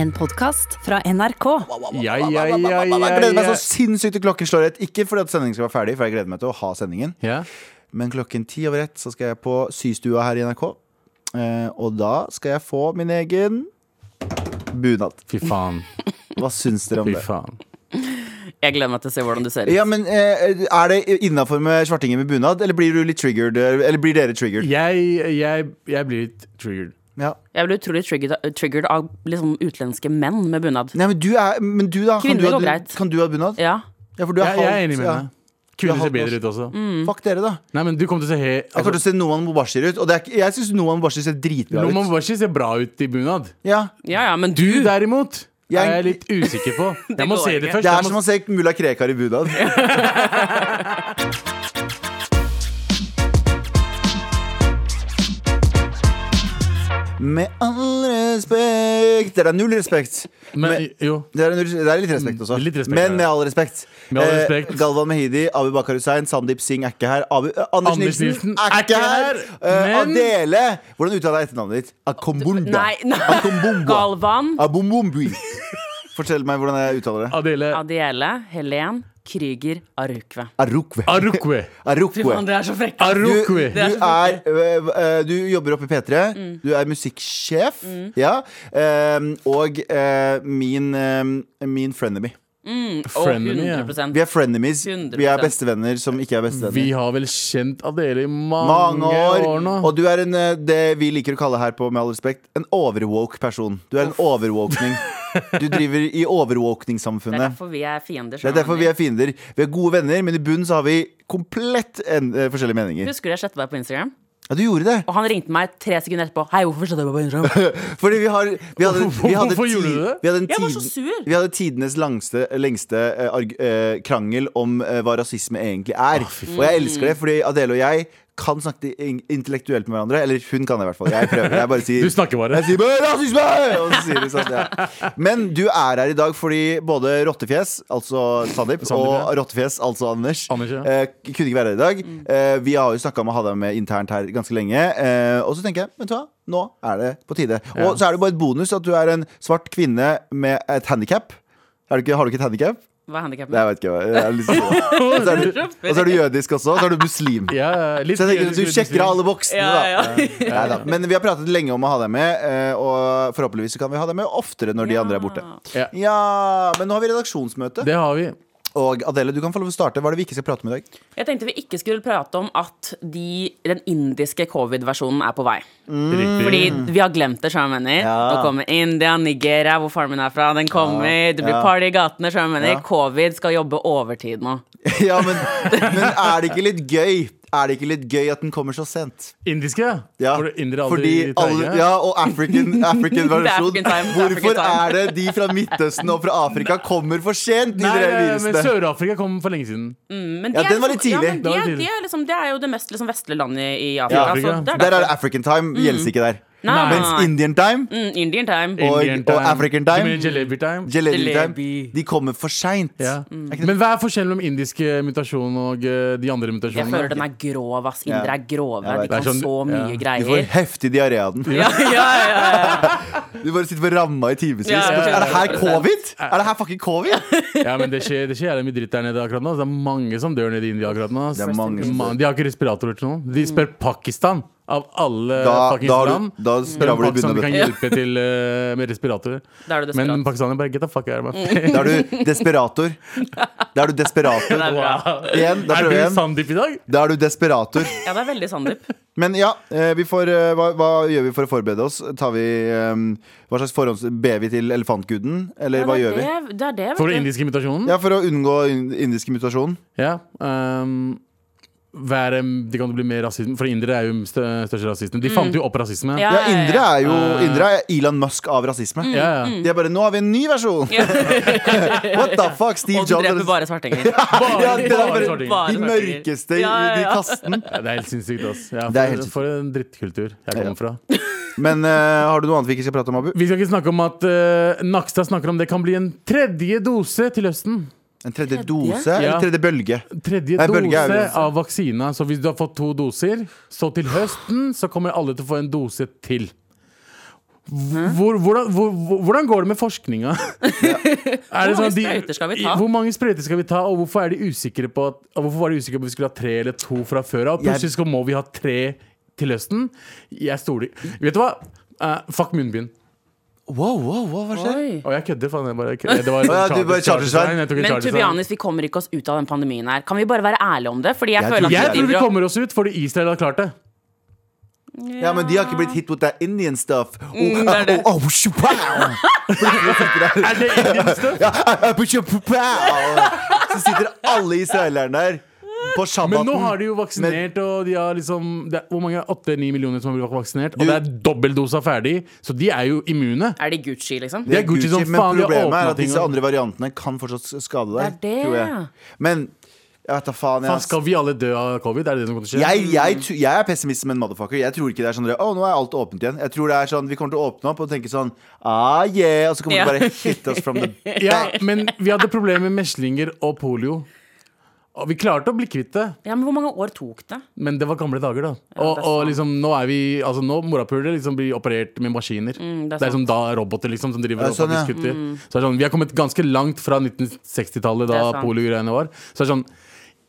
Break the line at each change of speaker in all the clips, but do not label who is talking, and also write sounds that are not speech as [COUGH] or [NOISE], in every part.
En podkast fra NRK.
Ja, ja, ja, ja,
Jeg gleder meg
ja.
så sinnssykt til klokken slår ett. Ikke fordi at sendingen skal være ferdig, for jeg gleder meg til å ha sendingen.
ja.
Men klokken ti over ett så skal jeg på systua her i NRK. Eh, og da skal jeg få min egen bunad.
Fy faen.
Hva syns dere om
Fy
det?
faen.
Jeg gleder meg til å se hvordan du ser ut.
Ja, men eh, Er det innafor med svartinger med bunad, eller blir du litt triggered? Eller blir dere triggered?
Jeg, jeg, jeg blir litt triggered.
Ja.
Jeg blir utrolig triggered, triggered av liksom utenlandske menn med bunad.
Nei, men du er Men du, da? Kan
Kvinner
du, ha,
går greit.
kan du ha bunad?
Ja.
Ja, for du er
Jeg, jeg er
halvt-
enig med
ja.
henne.
Du
Kvinner
er
ser
halvt
bedre ut
norsk.
også.
Mm.
Fuck dere, da.
Nei, men du kommer til å se he...
Jeg kommer
Altså,
til å se Noman Mubashir ut. Og det er, ikke- jeg syns Noman Mubashir ser dritbra
Noman
ut.
Washi ser bra ut i bunad.
Ja,
ja, ja, men du
Du derimot
Jeg-
er jeg litt usikker på. Jeg må
går
se [LAUGHS] det
ikke.
først.
Det er
Jeg
som
må...
å se mulla Krekar i
[LAUGHS]
bunad. Med all respekt Det er null respekt.
Men jo.
Det er, null, det er litt respekt også.
Litt respekt,
Men
ja.
med all respekt.
Med all respekt.
Eh, Galvan Mehidi, Abu Bakar Hussein, Sandeep Singh er ikke her. Abu, eh, Anders,
Anders
Nilsen,
Nilsen
er ikke her. Eh,
men-
Adele Hvordan uttaler jeg etternavnet ditt? Akombumbwa.
Nei, nei.
Akombumbwa.
Galvan,
Abomumbwi. Fortell meg hvordan jeg uttaler det.
Adele
Adiele, Helen, Krüger, Arukve.
Arukwe.
[LAUGHS] Arukwe.
[LAUGHS] Arukwe.
Dere er så frekke.
Du,
Arukwe.
du, er, øh, øh, du jobber oppe i P3. Du er musikksjef. Ja. Ehm, og øh, min, øhm, min frenemy.
Frenemy, ja.
100
Vi er frenemies.
100%.
Vi er bestevenner som ikke er
Vi
bestevenner.
har vel kjent Adele i mange,
Mange år.
nå.
Og du er en, øh, det vi liker å kalle her på med all respekt, en overwoke person. Du er en overwalkning. Du driver i
Det er
overwalkning-samfunnet.
derfor vi er fiender.
Det er derfor vi er fiender. Vi er gode venner, men i bunnen så har vi komplett en, øh, forskjellige meninger.
Husker du jeg sletta deg på Instagram?
Ja, du gjorde det.
Og han ringte meg tre sekunder etterpå. Hei, hvorfor sletta du meg
[LAUGHS]
på Instagram?
Fordi vi har vi hadde, vi hadde
Hvorfor gjorde du det?
Vi hadde, en
Jeg var så
tid-
sur.
vi hadde tidenes langste, lengste eh, arg, eh, krangel om eh, hva rasisme egentlig er. og jeg elsker det, fordi Adele og jeg kan snakke in- intellektuelt med hverandre. Eller hun kan det, i hvert fall. Jeg prøver. Jeg bare sier
Du snakker bare.
Jeg sier bare 'rasisme!' Og så sier de sånn. Ja. Men du er her i dag fordi både Rottefjes, altså Sandeep,
Sandeep,
og
ja.
Rottefjes, altså Anders,
Anders, ja.
eh, kunne ikke være her i dag.
Mm.
Eh, vi har jo snakka om å ha deg med internt her ganske lenge. Eh, og så tenker jeg, vet du hva, nå er det på tide. Og så er det bare et bonus at du er en svart kvinne med et handikap. Er du ikke, har du ikke et handikap?
Hva er handikappen?
Jeg vet ikke. hva- Jeg er litt
[LAUGHS]
sånn. og, så er du, og så er du jødisk også, og så er du muslim.
Ja, litt
Så jeg tenker at du sjekker av
[LAUGHS]
alle boksene,
Ja,
da.
ja.
Neida. Men vi har pratet lenge om å ha deg med, eh, og forhåpentligvis så kan vi ha deg med oftere når de andre er borte.
Ja.
Ja, men nå har vi redaksjonsmøte.
Det har vi.
Og Adele, du kan få lov å starte. Hva er det vi ikke skal prate om i dag?
Jeg tenkte vi ikke skulle prate om at de, den indiske covid-versjonen er på vei.
Riktig.
Fordi vi har glemt det, skjønner du hva jeg mener.
Mm. Ja.
Nå kommer India, Nigeria, hvor faren min er fra. Den kommer. Det blir
Ja.
party i gatene, skjønner du hva jeg mener.
Ja.
Covid skal jobbe overtid nå.
[LAUGHS] ja, men, men er det ikke litt gøy? Er det ikke litt gøy at den kommer så sent?
Indiske?
Ja,
For indere aldri
fordi alle,
treige?
ja, og African,
[LAUGHS]
African versjon.
African time, det er
Hvorfor
African time.
er det de fra Midtøsten og fra Afrika kommer for sent? De
Nei, eh,
der
men
virusene?
Sør-Afrika kom for lenge siden.
Men
Ja,
det er
den var
liksom-
litt tidlig.
Ja, men
Den var litt
det, det,
tidlig.
er liksom, det er jo det mest liksom, vestlige landet i Afrika.
Afrika.
så det er
Der er det
derfor.
African time. Gjelder ikke der.
Nei, nei,
Mens
nei.
Indian time
Mm, Indian time.
Og-
Indian time.
African time.
Du mener jalebi
Mm.
time?
Jalebi time.
Jalebi.
De kommer for seint.
ja.
Mm.
Men hva er forskjellen mellom indiske mutasjon og eh, de andre
Jeg føler
mutasjonene?
den er grov, ass. Indere er grove.
Jeg vet.
De kan
Det er sånn-
så mye
ja.
Du får
greier.
heftig diaré av den.
[LAUGHS] Ja, ja, ja, ja.
Du bare sitter på ramma i timevis.
Ja, ja,
Er
ja.
det her covid? Er det her fucking covid?
Ja, men det skjer, det skjer jævlig mye dritt der nede akkurat nå. Det er mange som dør nede i India akkurat nå. ass.
Det er mange som
Man, de har ikke respiratorer til noen. De spør
Mm.
Pakistan, av alle
Da,
fuckings
da, har du-
land.
da skraver du i
Pakistan
bunnen
Mm. kan
av bøtta.
hjelpe til eh, med
[LAUGHS]
respiratorer.
Da er du desperat.
Men pakistanere bare get the fuck out of
[LAUGHS]
Mm.
my
Da er du desperator. Da er du
[LAUGHS]
desperator.
Det er bra.
Wow.
Igjen, da
Er du
prøver jeg igjen.
Sandeep i dag?
Da er du desperator.
ja, det er veldig Sandeep.
Men ja, eh, vi får, eh, hva, hva gjør vi for å forberede oss? Tar vi, eh, hva slags forhånds... Ber vi til elefantguden? Eller hva
det,
gjør vi?
er det, det er det,
For den
vet du.
indiske mutasjonen?
Ja, For å unngå in- indisk mutasjon.
Ja. ehm, være, de kan bli mer rasisme, for indere er jo stø, største rasisme. De fant jo opp rasisme.
Ja.
Mm.
Mm.
Ja, indre er jo indre er Elon Musk av rasisme.
Ja, ja.
De er bare 'nå har vi en ny versjon'! [LAUGHS] What the fuck, Steve
Og de dreper
Jobs?
bare svartinger.
Bare,
[LAUGHS] Ja, det er
bare
bare-
sorting.
bare
De
svartinger.
mørkeste i
Ja, ja,
i
ja.
kasten.
Ja, det er helt sinnssykt. Ass. Ja,
Det er
for,
helt sinnssykt.
for en drittkultur jeg
Ja.
kommer fra.
Men eh, har du noe annet vi ikke skal prate om, Abu?
Vi skal ikke snakke om at eh, Nakstad snakker om det kan bli en tredje dose til høsten.
En tredje dose? Eller
Ja.
tredje bølge?
Tredje
Nei, bølge er jo-
dose av vaksina. Så hvis du har fått to doser, så til høsten så kommer alle til å få en dose til. Hvor, hvordan, hvor, hvor- hvordan går det med
[LAUGHS]
forskninga? Er det sånn
Hvor mange
at de-
sprøyter skal vi ta?
Hvor mange sprøyter skal vi ta, og hvorfor er de usikre på at, og Hvorfor var de usikre på om vi skulle ha tre eller to fra før av? Plutselig skal, må vi ha tre til høsten. Jeg stoler Vet du hva? Eh, fuck munnbind.
Wow, wow, wow, hva skjer?
Oi.
Og jeg kødder, faen. Jeg bare, kødder. det var
Å ja, du bare charter-svein.
Jeg tok en
Men
charter-svein.
Tobianis, vi kommer ikke oss ut av den pandemien her. Kan vi bare være ærlige om det? Fordi jeg,
Jeg
føler
tror-
at
Jeg
vi
tror vi
driver og-
kommer oss ut fordi Israel har klart det.
Ja, men de har ikke blitt hit with that Indian stuff. Oh,
Mm, det er det.
oh, oh, shapow!
Er det Indian stuff?
Ja, oh, shapow! Så sitter alle israelerne der på
Men
shabbaten.
nå har de jo vaksinert, og de har liksom det er, Hvor mange? 8-9 millioner som har blitt vaksinert. Og
Du-
det er dobbeltdosa ferdig, så de er jo immune.
Er de Gucci, liksom?
Det er Gucci som faen, de
Men
har
problemet er
åpnet
at
ting
disse
og-
andre variantene kan fortsatt skade deg.
Det er det.
tror jeg. Men jeg vet da
Faen,
faen. Jeg,
skal vi alle dø av covid? Er det det som kommer til å skje?
jeg, jeg, tu- jeg er pessimist som en motherfucker. Jeg tror ikke det er sånn Å, nå er alt åpent igjen. Jeg tror det er sånn Vi kommer til å åpne opp og tenke sånn Ah, yeah! Og så kommer
Ja.
det bare hit us from the
[LAUGHS] Ja, men vi hadde problemer med meslinger og polio. Og vi klarte å bli kvitt det,
Ja, men Hvor mange år tok det?
men det var gamle dager, da. Og,
det er
og
sant.
liksom, nå er vi Altså, nå morapulere liksom blir operert med maskiner.
Mm, det er Mm.
det er som da roboter liksom som driver
Ja,
og
sånn, ja.
faktisk kutter. Så det er sånn, Vi har kommet ganske langt fra 1960-tallet,
Det er
da
sant.
polio-greiene var. Så det er sånn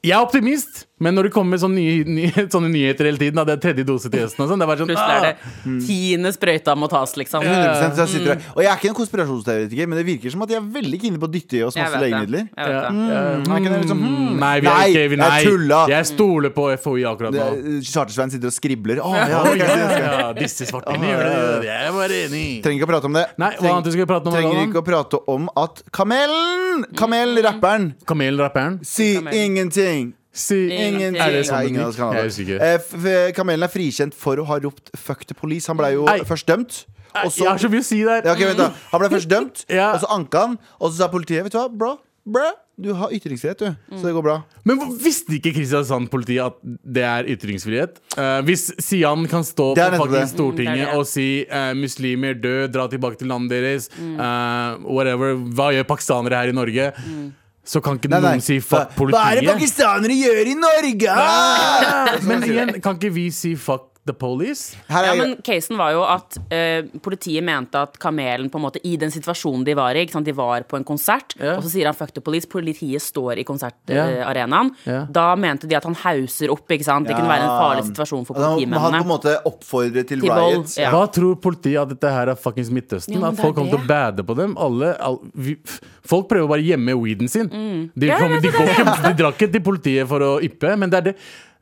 jeg er optimist, men når det kommer sånne, nye, nye, sånne nyheter hele tiden, at det er tredje dose til høsten og sånn, det er bare sånn
Plutselig
ah!
er det tiende sprøyta må tas,
100%
liksom.
så jeg sitter der. Og jeg er ikke en konspirasjonsteoretiker, men det virker som at de er veldig keen på å dytte i oss
Jeg
masse
vet det. Jeg
legemidler.
vet det.
Mm, er ikke det liksom, hmm.
«Ah, Nei, vi er
Nei,
ikke vi, nei.
jeg tulla.
Jeg stoler på FHI akkurat nå.
Det er- Chartersveien sitter og skribler. Å, ja,
Å,
ok,
ja,
jeg skal-
ja, disse svartingene gjør det. gjør det. Jeg var enig.
Trenger ikke å prate om det.
Nei, hva annet du skulle prate om?
Trenger
Adam?
ikke å prate om at Kamelen! Kamel, rapperen,
Kamelrapperen?
si
Mm. Kamel.
ingenting!
Si
Ingenting.
Er det sånn
Nei, ingen av oss kan ha
Jeg husker
det.
ikke.
Eh, f- f- Kamelen er frikjent for å ha ropt 'fuck the police'. Han ble jo
Nei.
først dømt. Og
Jeg har så
så,
mye å si der.
ja, ok, vent da. Han ble først dømt,
[LAUGHS] Ja.
og så anka han. Og så sa politiet 'vet du hva, bro, bro, du har ytringsfrihet, du', så det går bra.
Men hvor- visste ikke Kristiansand-politiet at det er ytringsfrihet? Eh, hvis Sian kan stå
Det er
på
nettopp det.
fucking Stortinget
Mm, det er det.
og si eh, 'muslimer, dø, dra tilbake til landet deres',
Mm.
eh, whatever, hva gjør pakistanere her i Norge?
Mm.
Så kan ikke noen si 'fuck
Hva- Hva er det
politiet'.
pakistanere gjør i Norge?! Ah!
Men igjen, kan ikke vi si 'fuck the police'?
Her er
Ja, men casen var jo at eh, politiet mente at Kamelen på en måte i den situasjonen de var i ikke sant? De var på en konsert,
Ja.
og så sier han 'fuck the police'. Politiet står i
Ja.
konsertarenaen.
Ja.
Da mente de at han hauser opp. ikke sant? Det kunne være en farlig situasjon for
Ja, Altså, han- Han på en måte
politimennene.
oppfordrer til,
Til vold,
riots.
ja.
Hva tror politiet at dette her er fuckings Midtøsten?
Jo, men
at
det
folk
er
kommer til å
det.
bade på dem? Alle, all, vi, f- folk prøver bare å gjemme weeden sin. De,
Mm. Ja, ja,
kommer,
det
de, går ikke, de drar ikke til politiet for å yppe, men det er det.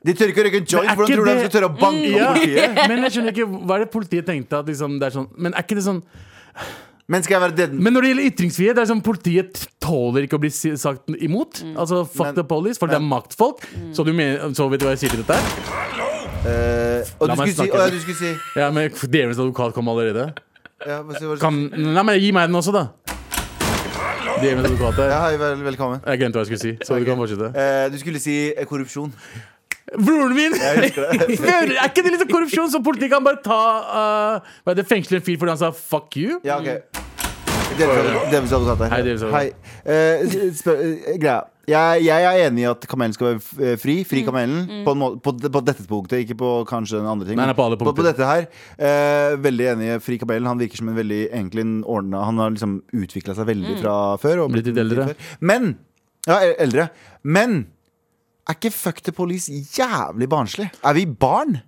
De tør ikke å røyke en joint.
Men er
Hvordan
ikke
tror du de
det- Mm.
skal tørre å banke
Ja,
[LAUGHS]
opp politiet?
men jeg skjønner ikke hva er det politiet tenkte at liksom, det er sånn Men er ikke det sånn
[LAUGHS] Men skal jeg være Eh, den
Men når det gjelder ytringsfrihet, det er sånn politiet tåler ikke å bli si- sagt imot.
Mm.
Altså fuck
Men-
the police, for det er maktfolk. Så, du mener, så vet du hva jeg sier til dette? her?
Eh, Og du
La meg
skulle
snakke.
si Å ja, du skulle si
Ja, men Djevelens advokat kom allerede.
ja, hva sier- hva sier-
Kan, nei, men gi meg den også, da. Djevelens advokat er
ja, hei, vel, Velkommen.
Jeg glemte hva jeg skulle si, så du kan fortsette.
Eh, du skulle si eh, korrupsjon.
Broren min! [LAUGHS] Broren, er ikke det litt sånn korrupsjon? Så politiet kan bare ta uh, Hva er det, fengsle en fyr fordi han sa 'fuck you'?
Ja, OK.
Mm.
Djevelens djevelens advokat her.
Hei, djevelens advokat.
Eh, s- spør- eh, greia. Jeg, jeg er enig i at kamelen skal være f- eh, fri.
Mm.
Fri kamelen. På, en måte, på, d- på dette punktet, ikke på kanskje den andre ting.
Nei, nei, på alle
på,
punkter.
dette her. Eh, veldig enig i fri kamelen. Han virker som en veldig egentlig en ordna Han har liksom utvikla seg
Mm.
veldig fra før. Og
Blitt litt eldre.
før. Men Ja, e- eldre. Men er ikke fuck the police jævlig barnslig? Er vi barn?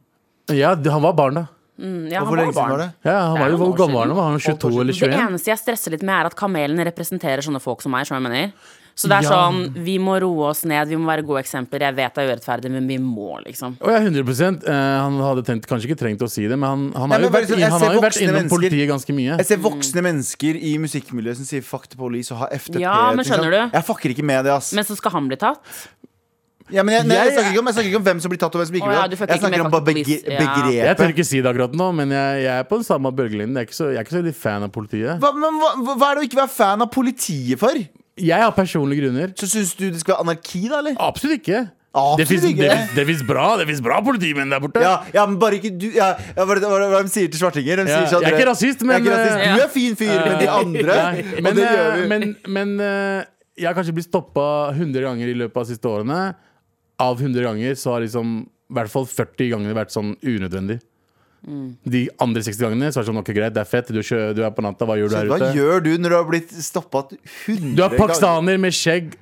Ja, det- han var barn, da.
Mm, ja,
Og
han
hvor
var
lenge siden
barn.
var det?
Ja, han
Det er
var jo
noen
Hvor
år
gammel var han?
siden.
Var han 22 eller
Det
21?
eneste jeg stresser litt med, er at Kamelen representerer sånne folk som meg. skjønner du hva jeg mener Så det er
Ja.
sånn, vi må roe oss ned, vi må være gode eksempler. Jeg vet det er urettferdig, men vi må, liksom.
Å ja, 100 eh, Han hadde tenkt, kanskje ikke trengt å si det, men han, han
Nei,
har jo
men bare
vært,
sånn,
inn-
jeg
han
ser
har jo vært
voksne
innom
mennesker.
politiet ganske mye.
Jeg ser
Mm.
voksne mennesker i musikkmiljøet som sier 'fuck the police' og har FTP.
Ja, men
ting sånn.
skjønner du?
Jeg fucker ikke med det, ass.
Men så skal han bli tatt.
ja, men jeg, nei, jeg,
Jeg-
snakker ikke om, jeg snakker ikke om hvem som blir tatt og hvem som ikke
Å,
blir
ja,
tatt.
du fucker
Jeg
ikke med
snakker om
fuck
bare
the
begre
police. Ja.
Jeg tør
begrepet.
ikke si det akkurat nå, men jeg, jeg er på den samme bølgelinjen. Jeg er ikke så, jeg er ikke så veldig fan av politiet.
Hva, men hva, hva- hva er det å ikke være fan av politiet for?
Jeg har personlige grunner.
Så syns du det skal være anarki, da, eller?
Absolutt ikke.
Absolutt
det fins
ikke.
det finnes- det finnes bra, det finnes bra politimenn der borte.
Ja, ja, men bare ikke du ja, ja, Hva er det hva er det- hva er det de sier til svartinger? De
Ja,
sier sånn,
jeg er
dere-
ikke rasist, men,
jeg er ikke rasist.
eh,
Du er fin fyr, men de andre
Nei,
Og
men,
det gjør
eh,
vi.
men, men eh, jeg har kanskje blitt stoppa 100 ganger i løpet av de siste årene. Av 100 ganger så har liksom i hvert fall 40 ganger vært sånn unødvendig.
Mm.
De andre 60 gangene så er det sånn OK, greit, det er fett, du er, sjø- du er på natta, hva gjør du her
Hva
ute?
gjør du når du har blitt stoppa 100
Du er pakistaner med skjegg,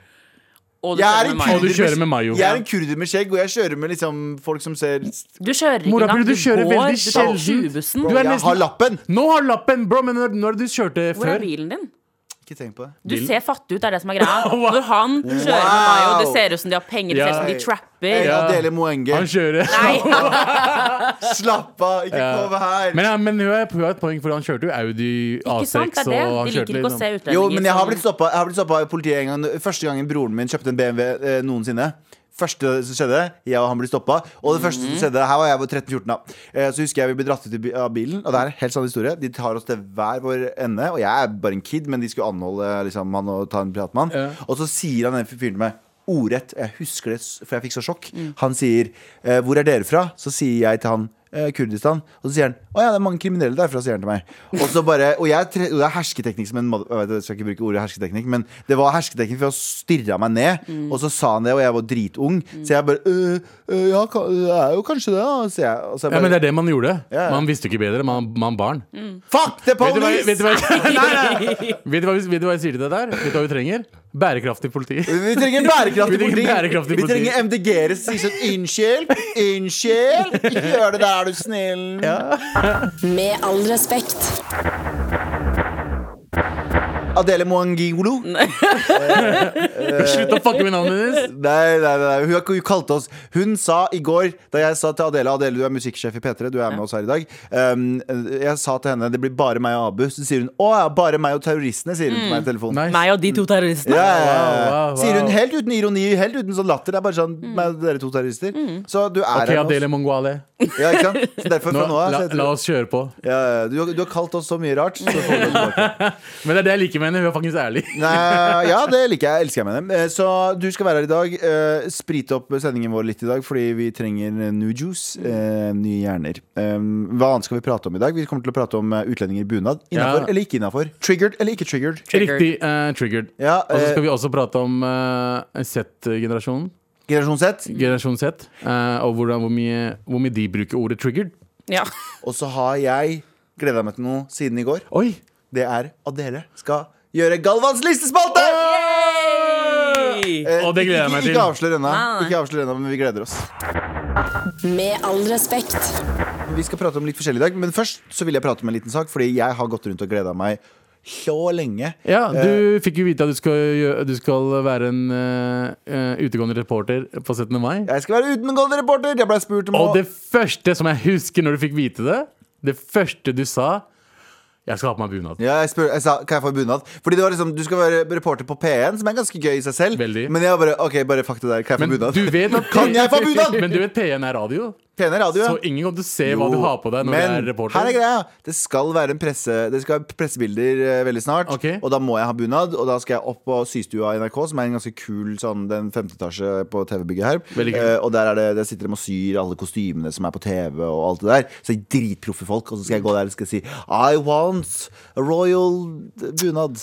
Og
Jeg er
kjører
en
med Mayo.
og du kjører med Mayo.
ganger? Jeg er en kurder med skjegg, og jeg kjører med liksom folk som ser
Du kjører ikke
Mora,
engang.
du kjører
går,
veldig
du tar
sjelden.
20-bussen.
Du er
Jeg
nesten-
har lappen!
Nå har lappen, bro! Men når, når du kjørte
Hvor er
før
bilen din?
Ikke tenk på det.
Du
Bilen.
ser fattig ut, det er det som
[LAUGHS]
er greia. Når han kjører med
Wow.
Mayo, det ser ut som de har penger, det ser ut som de trapper.
Jeg
Ja.
deler moenge.
Han kjører. [LAUGHS]
Nei,
Slapp av, ikke kom her!
Men, ja, men hun har hun har et poeng, for han kjørte jo Audi
ikke
A6.
sant, det er det.
og han
De liker
kjørte
ikke å se
liksom-
utlendinger
Jo, men jeg har
som-
blitt stoppa jeg har blitt stoppet av politiet en gang. Første gangen broren min kjøpte en BMW eh, noensinne. Første som skjedde, jeg og han ble stoppa. Og det første
Mhm.
som skjedde, her var jeg på 13-14 da. Eh, Så husker jeg vi ble dratt ut i bi- av bilen, og det er en helt sann historie. De tar oss til hver vår ende, og jeg er bare en kid, men de skulle anholde liksom, han og ta en prat med han.
Ja.
Og så sier han den fyren til meg ordrett, jeg husker det, s- for jeg fikk så sjokk. Han sier eh, 'Hvor er dere fra?' Så sier jeg til han eh, Kurdistan. Og så sier han 'Å ja, det er mange kriminelle derfra', sier han til meg. Og så bare, og jeg er tre, og det er hersketeknikk som en mother- Jeg vet, jeg skal ikke bruke ordet hersketeknikk, men det var hersketeknikk for å stirre meg ned. Og så sa han det, og jeg var dritung, så jeg bare øh, øh, Ja, ka- det er jo kanskje det, da, sier jeg. Og så jeg
Ja, men
bare,
det er det man gjorde.
Ja, ja.
Man visste ikke bedre. Man, man barn.
Mm.
Fuck
Vet
the
du hva,
police!
vet du hva, nei, nei, nei. Vet, du hva, vi- vet du hva jeg sier til deg der? Vet du hva vi trenger? Bærekraftig [LAUGHS] politi.
Vi trenger bærekraftig
Vi trenger
politikk.
bærekraftig
Vi
politikk.
trenger MDG-ere som sier sånn Unnskyld, unnskyld, ikke gjør det der, er du snill.
Med all respekt.
Adele Moangolo. Nei,
Slutt å fucke med navnet hennes!
nei, nei. Hun, har ikke- hun kalte oss Hun sa i går, da jeg sa til Adele Adele, du er musikksjef i P3, du er med oss her i dag. Um, jeg sa til henne det blir bare meg og Abu. Så sier hun å ja, bare meg og terroristene, sier hun til meg i telefonen.
Nice.
Meg og de to terroristene.
Ja, ja, ja.
Wow, wow, wow.
Sier hun helt uten ironi, helt uten sånn latter. Det er bare sånn meg og dere to terrorister. Så du er
Ok,
her med
Adele
oss.
Mongoale.
Ja, ikke sant? Så derfor
Nå,
fra nå
la,
av så heter
la
du-
oss kjøre på.
ja, ja, du, har- du har kalt oss så mye rart. Så får du det tilbake.
Men det er det jeg liker med henne. Hun er faktisk ærlig.
Nei, ja, det liker jeg. Elsker jeg med dem. Eh, Så du skal være her i dag. Eh, Sprite opp sendingen vår litt i dag, fordi vi trenger eh, new juice. eh, Nye hjerner. Eh, Hva annet skal vi prate om i dag? Vi kommer til å prate om eh, utlendinger i bunad. Innafor
Ja.
eller ikke innafor? Triggered eller ikke triggered?
Triggered.
Riktig eh, triggered.
Ja,
Og så
eh,
skal vi også prate om eh, Z-generasjonen.
Generasjon Z.
Generasjon Z. eh, og hvordan, hvor, mye, hvor mye de bruker ordet triggered.
Ja.
Og så har jeg gleda meg til noe siden i går.
Oi!
Det er at dere skal gjøre Galvans listespalte! Eh,
Å, det gleder jeg meg
ikke-
til.
Ikke avslør ennå,
Nei, nei.
Ikke avslør ennå, men vi gleder oss.
Med all respekt.
Vi skal prate om litt forskjellig i dag, men først så vil jeg prate om en liten sak. Fordi jeg har gått rundt og gleda meg så lenge.
Ja,
Eh,
du fikk jo vite at du skal, gjø- du skal være en eh, eh, utegående reporter på 17. mai.
jeg skal være utenlandsk reporter! Jeg ble spurt om
Og
å
det første som jeg husker når du fikk vite det, det første du sa Jeg skal ha på meg bunad.
ja, jeg, spør, jeg sa kan jeg få bunad. Fordi det var liksom, Du skal være reporter på P1, som er ganske gøy i seg selv.
Veldig.
Men jeg bare OK, bare fuck det der. Kan jeg
Men
få bunad?
du vet at
[LAUGHS] Kan jeg få
[LAUGHS]
bunad?
Men du vet P1 er radio,
P1 er radio,
så
ja.
ingen kommer til å se hva du
Jo,
har på deg når
men
du er
Her
reporter.
er greia. Det skal være en presse Det skal være pressebilder eh, veldig snart.
Ok.
Og da må jeg ha bunad, og da skal jeg opp på systua i NRK, som er en ganske kul sånn den femte etasje på TV-bygget her.
Veldig kul.
Eh, og der, er det, der sitter de og syr alle kostymene som er på TV, og alt det der. Så dritproffe folk. Og så skal jeg gå der og skal si I want a royal bunad.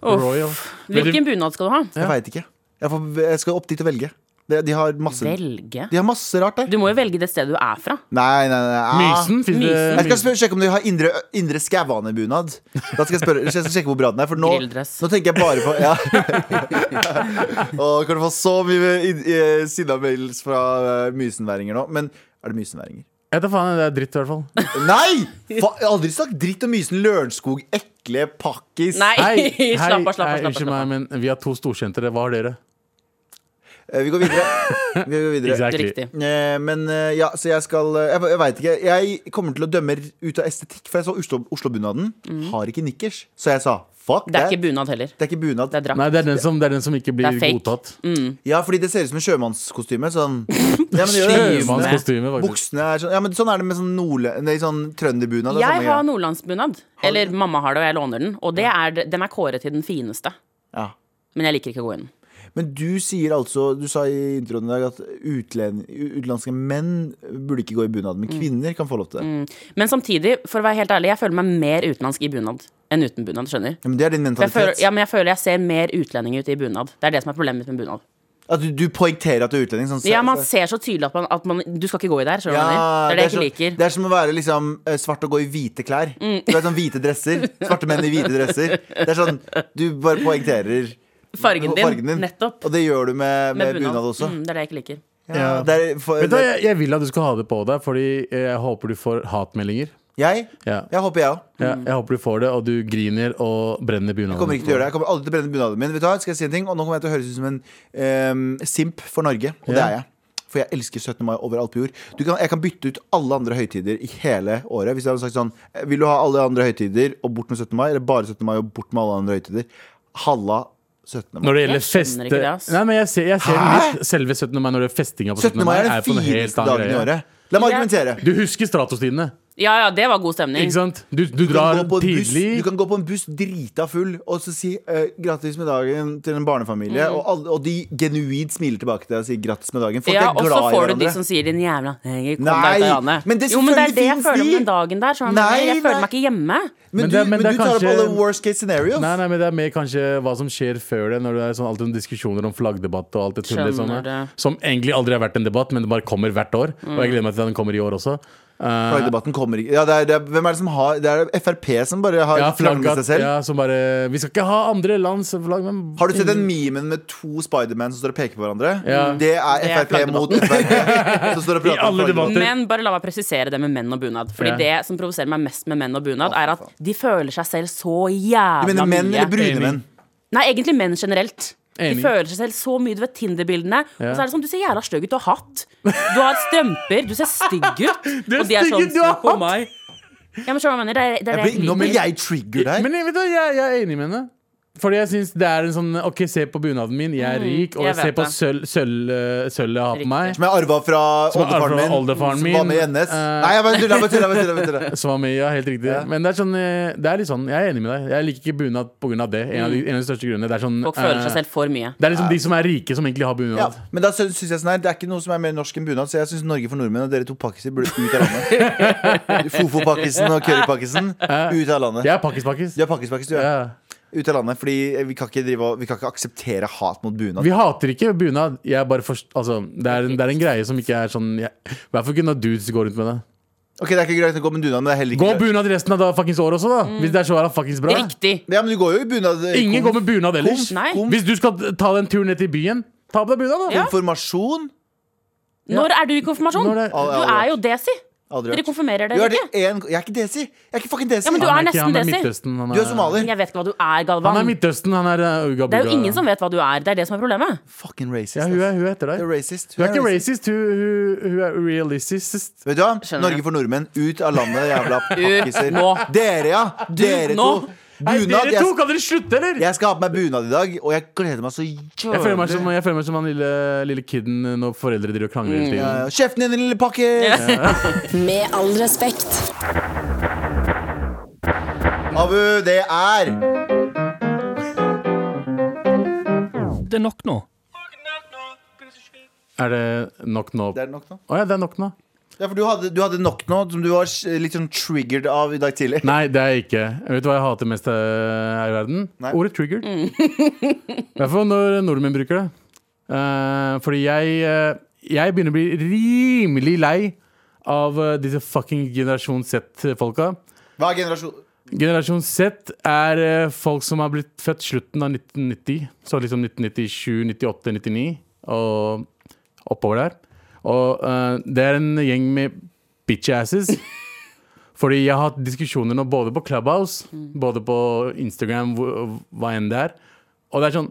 Royal.
Hvilken bunad skal du ha?
Jeg veit ikke. Jeg, får, jeg skal opp dit og velge. De, de har masse
Velge.
De har masse rart der.
Du må jo velge det stedet du er fra.
Nei, nei, nei. ah.
Mysen? Finnes det
Mysen.
Jeg skal
Mysen?
spørre, sjekke om de har indre, indre skauanebunad. Da skal jeg, spørre, jeg skal sjekke hvor bra den er. For nå,
Grilldress.
nå tenker jeg bare på
[LAUGHS]
ja. Å, Kan du få så mye id- eh, sinna mails fra eh, mysenværinger nå? Men er det mysenværinger?
Jeg tar faen, det er dritt i hvert fall.
Nei! Fa jeg har aldri sagt dritt om Mysen Lørenskog. Ekle pakkis.
Nei,
Hei,
[LAUGHS] slapp av, slapp av.
hei,
slapp av,
unnskyld
slapp
meg,
av.
men vi har to storkjente. Hva har dere?
Eh, Vi går
[LAUGHS]
videre. Vi går videre.
Det er riktig.
Eh, Men eh, ja, så jeg skal eh, Jeg, jeg veit ikke. Jeg kommer til å dømme ut av estetikk, for jeg så Oslo- Oslo-bunaden. Har ikke nikkers. Så jeg sa fuck
Mm. Det er ikke
that.
bunad heller.
Det er ikke bunad.
Det er drakt.
Nei, det er den som, det er den som ikke blir
Det er fake.
godtatt.
Ja, fordi det ser ut som en sjømannskostyme.
[LAUGHS]
Sånn. Ja, men det gjør det.
Sjømannskostyme, faktisk.
Buksene er sånn Ja, men sånn er det med sånn, nordle, nei, sånn trønderbunad. det er samme
Jeg har
greia.
nordlandsbunad. Eller mamma har det, og jeg låner den. Og det er, den er kåret til den fineste.
Ja.
Men jeg liker ikke å gå inn.
Men du sier altså Du sa i introen i dag at utlen- utenlandske menn burde ikke gå i bunad,
Mm.
men kvinner kan få lov til det.
Men samtidig, for å være helt ærlig, jeg føler meg mer utenlandsk i bunad enn uten bunad. skjønner
Ja, men det er din
For jeg føler,
mentalitet.
ja, men jeg føler jeg ser mer utlending ut i bunad. Det er det som er problemet mitt med bunad.
At du, du poengterer at du er utlending. Sånn,
Ja, man ser så tydelig at man, at man Du skal ikke gå i der, skjønner du? hva jeg mener? Det er det jeg ikke
så-
liker. Mm.
det er som å være liksom, eh, svart og gå i hvite klær. Du vet, sånn hvite dresser Svarte menn i hvite dresser. Det er sånn, Du bare poengterer
Fargen din. Nettopp.
Og det gjør du med, med, bunad også.
Mm, det er det jeg ikke liker.
Ja, det er, for,
Vet du hva,
det,
jeg, jeg vil at du skal ha det på deg, Fordi jeg håper du får hatmeldinger.
jeg,
Ja.
jeg håper jeg òg.
Ja, jeg håper du får det, og du griner og brenner
Jeg Mm. kommer
bunaden.
ikke til å gjøre det. Jeg kommer aldri til å brenne bunaden min. Vet du hva, skal jeg si en ting? Og nå kommer jeg til å høres ut som en ehm, simp for Norge, og det
Ja.
er jeg. For jeg elsker 17. mai overalt på jord. Du kan, jeg kan bytte ut alle andre høytider i hele året. Hvis jeg hadde sagt sånn eh, Vil du ha alle andre høytider og bort med 17. mai, eller bare 17. mai og bort med alle andre høytider? Halla 17. mai.
Når det gjelder
Jeg skjønner
feste
ikke det, ass.
Nei, men jeg ser, jeg ser
Hæ?
litt selve 17. mai når det er festinga på
17. mai er
på
den
en helt
fineste
annen
dagen i
greie.
året. La meg
Ja.
argumentere.
Du husker Stratostidene,
Ja, ja, det var god stemning.
ikke sant? Du, du
Du kan,
drar
gå på en buss,
tidlig.
du kan gå på en buss drita full og så si eh, 'grattis med dagen' til en barnefamilie,
Mm.
og, alle, og de genuint smiler tilbake til deg og sier 'grattis med dagen'. Folk
Ja,
er
og
glad i
så
hverandre.
får du de som sier 'din jævla henger, kom
Nei,
deg ut av landet'.
men det
jo, men det er
selvfølgelig
det jeg
finnes
føler om
de.
den dagen der. Sånn,
Nei,
nei, jeg
nei.
føler meg ikke hjemme.
Men,
Men
du,
det- men
men
det er
du tar opp
kanskje-
alle worst case scenarios.
Nei, nei, men det er mer kanskje hva som skjer før det, når det er sånn alltid noen diskusjoner om flaggdebatt og alt det tullet som
Skjønner
er.
det. Mm.
Som egentlig aldri har vært en debatt, men det bare kommer hvert år. Og jeg gleder meg til den kommer i år også. Eh,
Flaggdebatten kommer ikke ja, det, er, det, er, hvem er det, som har, det er Frp som bare har
ja,
flagget seg
flagget,
selv.
ja, som bare Vi skal ikke ha andre lands flagg, men
Har du sett den memen med to Spiderman som står og peker på hverandre?
Ja.
Det er
Det er
Frp mot Frp. Som står og
[LAUGHS] I
prater om
alle
flagget.
debatter.
Men bare la meg presisere det med menn og bunad. Fordi
Ja.
det som provoserer meg mest med menn og bunad,
Å,
er at
fy faen.
de føler seg selv så
Du
jævla
mener menn
mye.
eller brune menn?
Nei, egentlig menn generelt.
Enig.
De føler seg selv så mye. Du vet Tinder-bildene.
Ja.
Og så er det sånn, du ser jævla stygg ut. Du har hatt. Du har strømper. Du ser
[LAUGHS]
stygg ut.
Du er
og de er
stygg ut,
sånn,
du har
«Se på meg». Ja, men skjønner du hva jeg mener? Det er, det er
Jeg
det
blir, nå blir
liker.
jeg trigger der.
Men jeg, vet du, jeg, jeg er enig med henne. Fordi jeg syns det er en sånn OK, se på bunaden min, jeg er rik, og
Mm, jeg
se
vet
på
det.
sølv- sølv- eh, sølvet jeg har
Riktig.
på meg,
Som jeg arva fra
Som jeg
oldefaren
arvet
min.
fra oldefaren
som
min.
var med i NS.
Eh.
Nei, jeg bare tuller, jeg bare tuller, jeg bare tuller, jeg
[LAUGHS]
bare tuller.
som var med. Ja, helt riktig.
Ja.
Men det er sånn eh, Det er litt sånn, jeg er enig med deg. Jeg liker ikke bunad pga. det. En av, de, en av de største grunnene. Det er sånn
Mm. Folk føler
eh,
seg selv for mye.
Det er liksom de som er rike, som egentlig har bunad.
Ja, men da syns jeg sånn her, det er ikke noe som er mer norsk enn bunad, så jeg syns Norge for nordmenn og dere to pakkiser burde ut av
[LAUGHS]
landet. Fofo-pakkisen og currypakkisen ut av landet.
Jeg er pakkis-pakkis.
Du er pakkis-pakkis, du.
Ja.
Ja. Ut av landet, fordi eh, vi kan ikke, drive, og- vi kan ikke akseptere hat mot bunad.
Vi hater ikke bunad. Jeg er bare forst, altså, det, er, en- det er en greie som ikke er sånn jeg- I hvert fall ikke når dudes går rundt med det.
Ok, Det er ikke greit å gå med bunad, men det er heller ikke
Gå
greit.
bunad resten av da fuckings året også, da! Hvis det er så jævla fuckings bra.
Mm. Riktig.
Ja, men du går jo i bunad. eh,
Ingen går med bunad ellers.
Nei.
Kom.
Hvis du skal ta den turen ned til byen, ta på deg bunad, da.
Ja.
Konfirmasjon?
Når er du i konfirmasjon?
Når er-
Du er jo desi.
Aldri
Dere
vært. Du
konfirmerer dere
er
ikke.
det en, jeg er ikke desi. Jeg er ikke fucking desi.
Ja, men du er
Han ikke-
nesten
han er
desi.
Midtøsten. Han
Du er somalier.
Jeg vet ikke hva du er,
Han
Galvan.
er Midtøsten, han er uh, uga
det er jo
buga.
ingen som vet hva du er. Det er det som er problemet.
Fucking racist.
Ja, hun
ass.
er, hun er etter
Du
deg.
er racist.
Hun er ikke racist, hun, hun, hun er realistisk.
Vet du hva?
Skjønner
Norge
jeg.
for nordmenn, ut av landet, jævla pakkiser.
nå.
Dere, ja. Dere to.
nå.
Hei,
Bunad.
dere to,
Jeg,
kan dere slutte, eller?
jeg skal ha på meg bunad i dag, og jeg gleder meg så
Jeg føler meg som,
jævlig.
jeg føler meg som han lille, lille kiden når foreldre driver og krangler hele tiden.
Mm, Ja, Eh, Kjeften din, lille pakkis!
Med all respekt.
[LAUGHS] Abu, det er
Det er nok nå.
Er det nok nå?
Det
Å
er nok nå.
ja, det er nok nå.
Ja, for du hadde, du hadde nok nå, som du var s- litt sånn triggered av i dag tidlig.
[LAUGHS] Nei, det er jeg ikke. Vet du hva jeg hater mest eh, her i verden?
Nei.
Ordet 'triggered'. I hvert fall når nordmenn bruker det. Eh, fordi jeg, eh, jeg begynner å bli rimelig lei av eh, disse fucking generasjon Z-folka.
Hva er generasjon
Generasjon Z er eh, folk som har blitt født slutten av 1990. Så liksom 1997, 98, 99 og oppover der. Og eh, det er en gjeng med bitch asses. Fordi jeg har hatt diskusjoner nå både på Clubhouse, både på Instagram, hvor, hva enn det er. Og det er sånn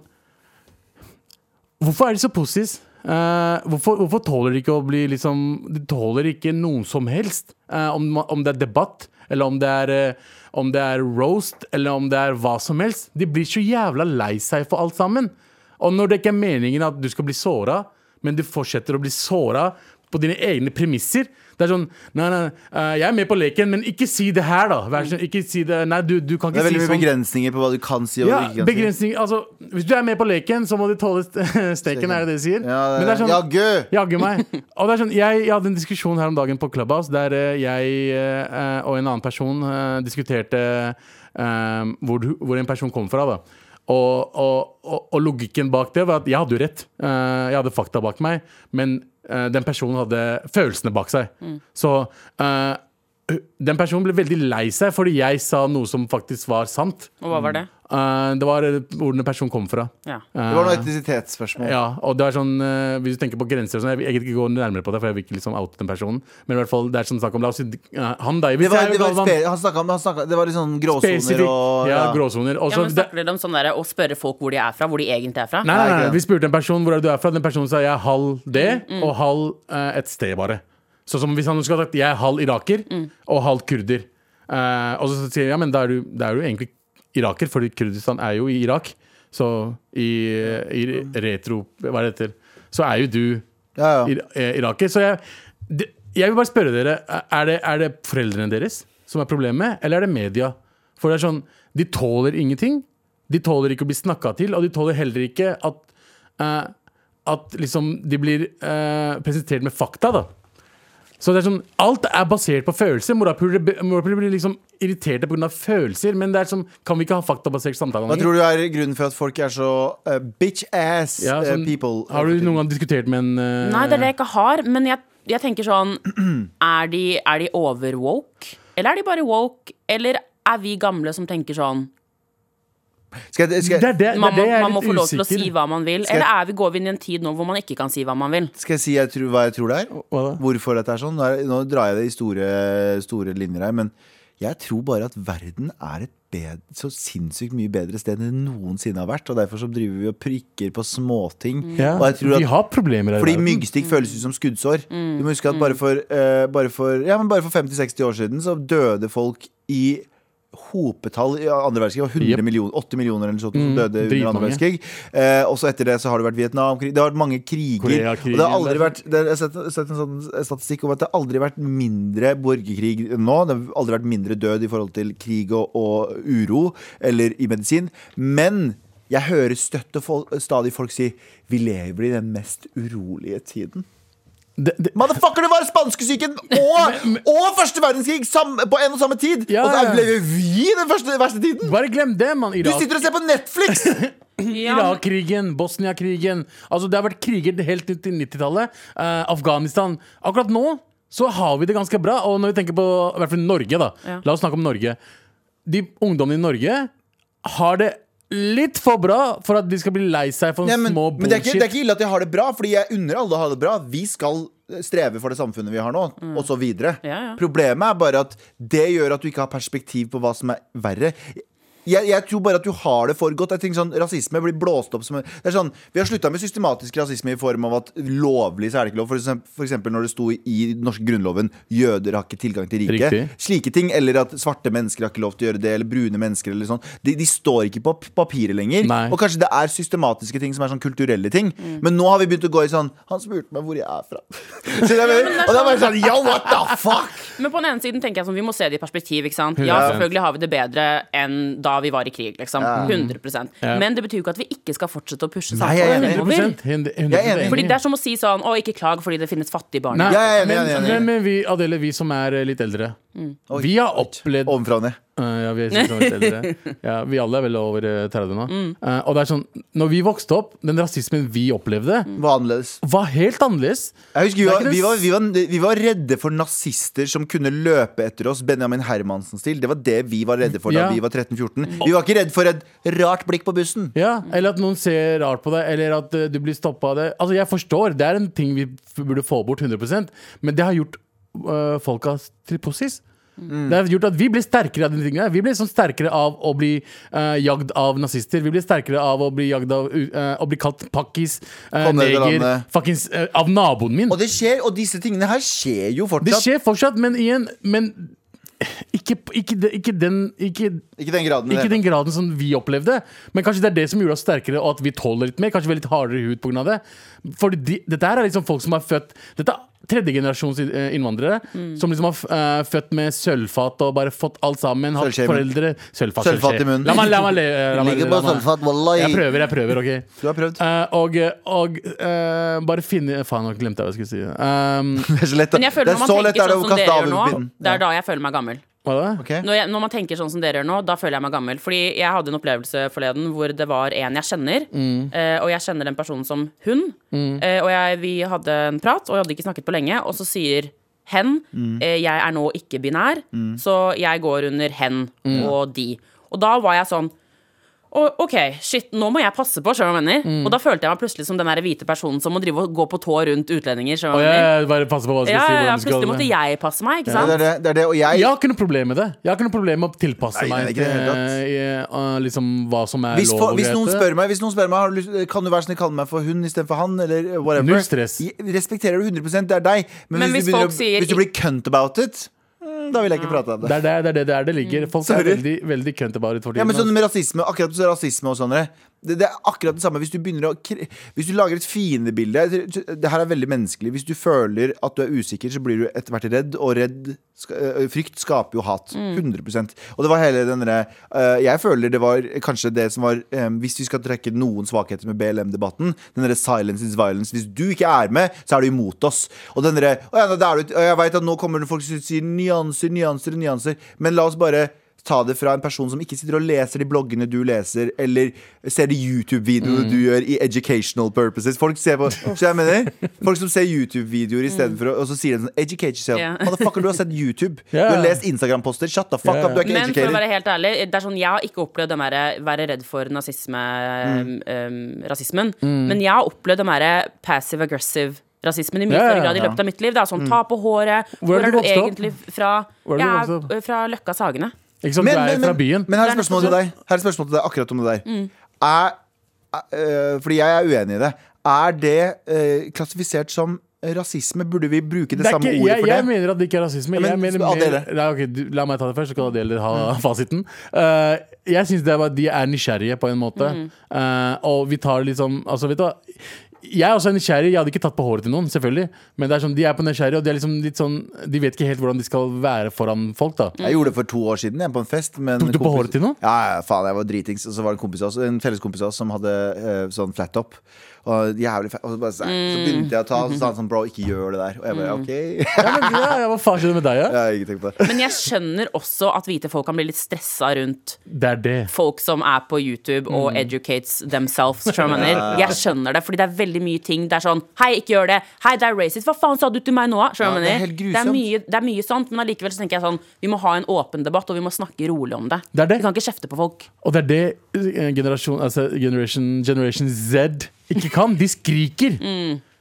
Hvorfor er de så pussies? Eh, hvorfor, hvorfor tåler de ikke å bli liksom De tåler ikke noen som helst. Eh, om, ma- om det er debatt, eller om det er, eh, om det er roast, eller om det er hva som helst. De blir så jævla lei seg for alt sammen. Og når det ikke er meningen at du skal bli såra, men du fortsetter å bli såra på dine egne premisser Det er sånn Nei, nei, eh, jeg er med på leken, men ikke si det her, da. Vær så, ikke si det Nei, du, du kan
Det
ikke
er
si
veldig mye
sånn.
begrensninger på hva du kan si. Og
Ja,
hva du ikke kan si.
begrensning Altså, hvis du er med på leken, så må du tåle st- [LAUGHS] steken, er det det de sier?
Ja,
Men
det
det
er
er sånn,
Jaggu!
Jaggu meg.
[LAUGHS]
Og det er sånn, jeg, jeg hadde en diskusjon her om dagen på Clubhouse der eh, jeg eh, og en annen person eh, diskuterte eh, hvor, du- hvor en person kom fra. da Og, og, og, og logikken bak det var at jeg hadde jo rett. Eh, jeg hadde fakta bak meg, men eh, den personen hadde følelsene bak seg. Så eh, den personen ble veldig lei seg fordi jeg sa noe som faktisk var sant.
Og hva var det?
Eh, det var eh, hvor den personen kom fra.
Ja.
Det var noe etnisitetsspørsmål.
Ja, og det er sånn eh, Hvis du tenker på grenser og sånn, jeg vil jeg vil ikke gå nærmere på det, for jeg vil ikke liksom oute den personen. Men i hvert fall, det er sånn snakk om La oss si eh, han, da. Hvis
Det var,
jeg er
det var,
Galvan,
spe- han snakket om, han snakket, det var litt sånn gråsoner
spesifikk-
og
Ja,
ja.
gråsoner. Og
Ja,
så
men
det-
Snakker dere om sånn der, å spørre folk hvor de er fra? Hvor de egentlig er fra?
Nei,
Nei,
nei, nei,
ikke det.
vi spurte en person hvor er det du er fra. Den personen sa jeg er halv det, og halv eh, et sted bare. Så som hvis han skulle ha sagt jeg er halv iraker og halv kurder. Eh, og så sier jeg ja, men da er du, da er du egentlig iraker, fordi Kurdistan er jo i Irak. Så i, i retro... Hva er det heter? Så er jo du
Ja, ja.
ir, eh, iraker. Så jeg, det- jeg vil bare spørre dere, er det, er det foreldrene deres som er problemet, eller er det media? For det er sånn, de tåler ingenting. De tåler ikke å bli snakka til, og de tåler heller ikke at eh, At liksom de blir eh, presentert med fakta, da. Så det er sånn, Alt er basert på følelser. Morapuler morapuler blir liksom irriterte pga. følelser. Men det er sånn, kan vi ikke ha faktabasert samtale?
Hva
lenger?
tror du er grunnen for at folk er så eh, bitch ass
Ja,
eh,
sånn,
people?
Har du noen gang diskutert med en eh,
Nei, det er det jeg ikke har. Men jeg, jeg tenker sånn
[CLEARS THROAT]
er de, er de overwoke? Eller er de bare woke? Eller er vi gamle som tenker sånn
Skal jeg, skal,
Det er det,
jeg,
det, er
Man må,
det jeg er
man må få
litt
lov til å
usikker
si hva man vil.
Skal jeg-
Eller er vi, går vi inn i en tid nå hvor man ikke kan si hva man vil?
skal jeg si jeg tror, hva jeg tror det er?
Hva da?
Hvorfor dette er sånn? Nå, er, nå drar jeg det i store, store linjer her, men jeg tror bare at verden er et bed- så sinnssykt mye bedre sted enn det noensinne har vært. Og derfor så driver vi og prikker på småting.
Ja,
Og jeg tror at
vi har problemer her. i
Fordi
verden.
myggstikk føles ut som skuddsår. Du må huske at bare for, eh, bare for, ja, men bare for 50-60 år siden så døde folk i hopetall i andre verdenskrig. Det var 100
Jep.
millioner, 8 millioner eller sånt som
Mm,
døde under andre
dritmange.
verdenskrig. Eh, og så etter det så har det vært Vietnamkrig. Det har vært mange kriger.
Koreakrigen,
Og det har aldri
det er
vært det, Jeg har sett, sett en sånn statistikk om at det har aldri vært mindre borgerkrig enn nå. Det har aldri vært mindre død i forhold til krig og, og uro eller i medisin. Men jeg hører støtt og fol stadig folk si vi lever i den mest urolige tiden.
det, det,
Motherfucker, det var spanskesyken og, og første verdenskrig sam, på en og samme tid!
Ja,
og
ja.
så lever vi i den første, verste tiden!
Bare glem det, mann.
Du
Irak.
sitter og ser på Netflix!
Irak-krigen, Bosnia-krigen. Altså, det har vært kriger helt ut til 90-tallet. Eh, Afghanistan. Akkurat nå så har vi det ganske bra. Og når vi tenker på i hvert fall Norge, da.
Ja.
La oss snakke om Norge. De ungdommene i Norge har det litt for bra for at de skal bli lei seg for
Ja, men,
små
men det, er ikke, det er
bullshit.
ikke ille at jeg har det bra, Fordi jeg unner alle å ha det bra. Vi skal streve for det samfunnet vi har nå,
Mm.
og så videre.
Ja, ja.
Problemet er bare at det gjør at du ikke har perspektiv på hva som er verre. Jeg, jeg tror bare at du har det for godt. Jeg tenker sånn, Rasisme blir blåst opp som en- det er sånn, Vi har slutta med systematisk rasisme i form av at lovlig så er det ikke lov. For eksempel, for eksempel når det sto i den norske grunnloven 'jøder har ikke tilgang til riket'.
Riktig.
Slike ting. Eller at svarte mennesker har ikke lov til å gjøre det. Eller brune mennesker. eller sånn De, de står ikke på p- papiret lenger.
Nei.
Og Kanskje det er systematiske ting som er sånn kulturelle ting. Men nå har vi begynt å gå i sånn Han spurte meg hvor jeg er fra. [LAUGHS] Så jeg mener, og da var jeg sånn Yo, what the fuck?
Men på den ene siden tenker jeg sånn, vi må se det i perspektiv. ikke sant?
100%.
Ja, selvfølgelig har vi det bedre enn da vi var i krig. liksom. 100 Men det betyr jo ikke at vi ikke skal fortsette å pushe
Nei, jeg er
samfunnet
enig.
fremover.
100%, 100%
Jeg er enig.
Fordi Det er som å si sånn Å, ikke klag fordi det finnes fattige barn.
Nei,
Ja, jeg er enig,
men,
jeg er enig. Mm.
men, men vi, Adele, vi som er eh, litt eldre, vi har opplevd
Ovenfra og ned.
Eh, ja, vi er sikkert litt eldre. eh. Ja, vi alle er vel over eh, 30 nå. Eh, og det er sånn, når vi vokste opp, den rasismen vi opplevde,
Var annerledes.
var helt annerledes.
Jeg husker vi
Det er
var,
ikke det
vi, var, vi, var, vi var redde for nazister som kunne løpe etter oss. Benjamin Hermansen-stil. Det var det vi var redde for da
Ja.
vi var 13-14. Vi var ikke redde for et rart blikk på bussen.
Ja, Eller at noen ser rart på deg, eller at eh, du blir stoppa av det. Altså, jeg forstår, det er en ting vi f- burde få bort 100 men det har gjort eh, folka til possis. Det har gjort at Vi blir sterkere av de tingene. Vi blir sånn sterkere av å bli eh, jagd av nazister. Vi blir sterkere av å bli jagd av eh, Å bli kalt pakkis, eh,
Kom dere til
neger,
landet.
fuckings eh, av naboen min.
Og det skjer, og disse tingene her skjer jo
Det
fortsatt.
skjer fortsatt, men igjen Men ikke, ikke, de- ikke, den, ikke,
Ikke den graden.
ikke
det.
den graden som vi opplevde. Men kanskje det er det som gjorde oss sterkere, og at vi tåler litt mer. Kanskje vi er litt hardere i hud pga. det. For de, dette her er liksom folk som er født Dette er tredjegenerasjons eh, innvandrere. Som liksom har eh, født med sølvfat og bare fått alt sammen. Hatt
Sølvskje i munnen.
foreldre Sølvfat,
Sølvfat
sølvskje.
i munnen.
La meg, la meg, le- eh, la meg,
Ligger
la
på
meg.
sølvfat, wallahi.
Jeg prøver, jeg prøver, OK?
Du har prøvd.
Eh, og og eh, bare finne Faen, nå glemte jeg hva jeg skulle si. Um,
[LAUGHS] Det er så lett.
Men jeg føler
det
når
er
man
så lett
tenker
er det
sånn
å
som
kaste
dere gjør nå,
avelspinnen.
det er da jeg føler meg gammel.
Hva da?
[LAUGHS] Ok?
Når, jeg, når man tenker sånn som dere gjør nå, da føler jeg meg gammel. Fordi jeg hadde en opplevelse forleden hvor det var en jeg kjenner,
Mm.
eh, og jeg kjenner den personen som hun. eh, og jeg, vi hadde en prat, og jeg hadde ikke snakket på lenge, og så sier hen
Mm.
eh, Jeg er nå ikke binær, så jeg går under hen
Mm.
og de. Og da var jeg sånn «Å, OK, shit, nå må jeg passe på, skjønner du hva jeg
Mm.
mener? Og da følte jeg meg plutselig som den der hvite personen som må drive og gå på tå rundt utlendinger.
Å,
skjønner du
jeg,
hva jeg mener?
jeg bare passer på hva du skal
Ja,
si.
ja,
hvordan
ja,
du skal-
plutselig måtte jeg passe meg, ikke
Ja,
sant?
det, er det, det er det. Og jeg
Jeg har ikke noe problem med det. Jeg har ikke noe problem med å tilpasse
Nei,
meg
det er ikke det
til
hele
eh, eh, liksom, hva som er
hvis,
lov
for,
og
hvis,
greit.
noen spør meg, hvis noen spør meg har du lyst, Kan du være snill kalle meg for hun istedenfor han, eller whatever
Null stress.
Jeg respekterer du 100 det er deg. Men,
Men
hvis,
hvis
du
folk
begynner, å-
sier
hvis du blir cunt about it, mm, da vil jeg ikke prate om
Det
det.
er der det, er der- der det ligger. Folk er
Sorry.
veldig, veldig kønt about it for
Ja,
tiden.
men sånn
ass.
med rasisme, akkurat som rasisme og sånne det, det er akkurat det samme hvis du begynner å kri- Hvis du lager et fiendebilde Det her er veldig menneskelig. Hvis du føler at du er usikker, så blir du etter hvert redd, og redd ska- øh, Frykt skaper jo hat. 100 Og det var hele den derre øh, Jeg føler det var kanskje det som var øh, Hvis vi skal trekke noen svakheter med BLM-debatten, den derre silence is violence Hvis du ikke er med, så er du imot oss. Og den derre «Å ja, nå, da er du- Og jeg veit at nå kommer det folk som sier nyanser, nyanser, nyanser, men la oss bare ta det fra en person som ikke sitter og leser de bloggene du leser, eller ser de YouTube-videoene
Mm.
du gjør i educational purposes. Folk ser på, så jeg mener, folk som ser YouTube-videoer istedenfor, og så sier de sånn Educate yourself.
Ja.
Motherfucker, du har sett YouTube.
Mm. Ja.
Du har lest Instagram-poster. Shut the fuck
Ja, ja.
up, du er ikke
Men for å
educated.
være helt ærlig, det er sånn, jeg har ikke opplevd den derre være redd for nazisme,
Mm.
øhm, rasismen. Men jeg har opplevd den derre passive-aggressive rasismen i mye
Ja, ja,
større grad i
ja.
løpet av mitt liv. Det er sånn ta på håret,
Hvor
hvor,
er du
er du,
vokst opp?
egentlig fra?
Hvor er du
Jeg
vokst opp?
er øh, fra Løkka Sagene.
Ikke sant, du er Mm. fra byen.
men her
Det
er
er
spørsmålet til deg. Her er spørsmålet til deg akkurat om det der. Er, eh, fordi jeg er uenig i det. Er det eh, klassifisert som rasisme? Burde vi bruke det,
Det er
samme
ikke,
ordet
jeg,
for
jeg
det?
mener at det ikke er rasisme.
men
jeg mener mer,
Adele.
nei, ok, du, la meg ta det først, så kan Adele ha [LAUGHS] fasiten. Eh, jeg syns det er bare at de er nysgjerrige, på en måte. Eh, og vi tar liksom Altså, vet du hva. Jeg er også nysgjerrig. Jeg hadde ikke tatt på håret til noen, selvfølgelig. Men det er sånn, de er på nysgjerrige, og de, er liksom litt sånn, de vet ikke helt hvordan de skal være foran folk. da
Jeg gjorde det for to år siden, jeg, på en fest. Men
Tok du på
kompis-
håret til noen?
Ja, ja, faen, jeg var dritings. Og så var det en, kompis av oss, en felles kompis av oss som hadde eh, sånn flat top. Og jævlig fett. Og så, bare, så, så begynte jeg å ta, og så sa han sånn Bro, ikke gjør det der. Og jeg bare OK. [LAUGHS]
Ja, men, [LAUGHS] ja, ja, Hva faen skjedde med deg,
jeg
da?
har ikke tenkt på det.
Men jeg skjønner også at hvite folk kan bli litt stressa rundt
Det er det.
folk som er på YouTube
Mm.
og educates themselves.
[LAUGHS]
skjønner du hva Jeg mener? Jeg skjønner det, fordi det er veldig mye ting det er sånn Hei, ikke gjør det. Hei, det er racist. Hva faen sa du til meg nå?
Ja,
Skjønner du hva jeg
det er helt
mener? det,
grusomt.
er mye, det er mye sånt, men allikevel så tenker jeg sånn Vi må ha en åpen debatt, og vi må snakke rolig om det.
Det er det.
Vi kan ikke kjefte på folk.
Og det er det eh, generasjon, altså generation, generation Z ikke kan. De skriker.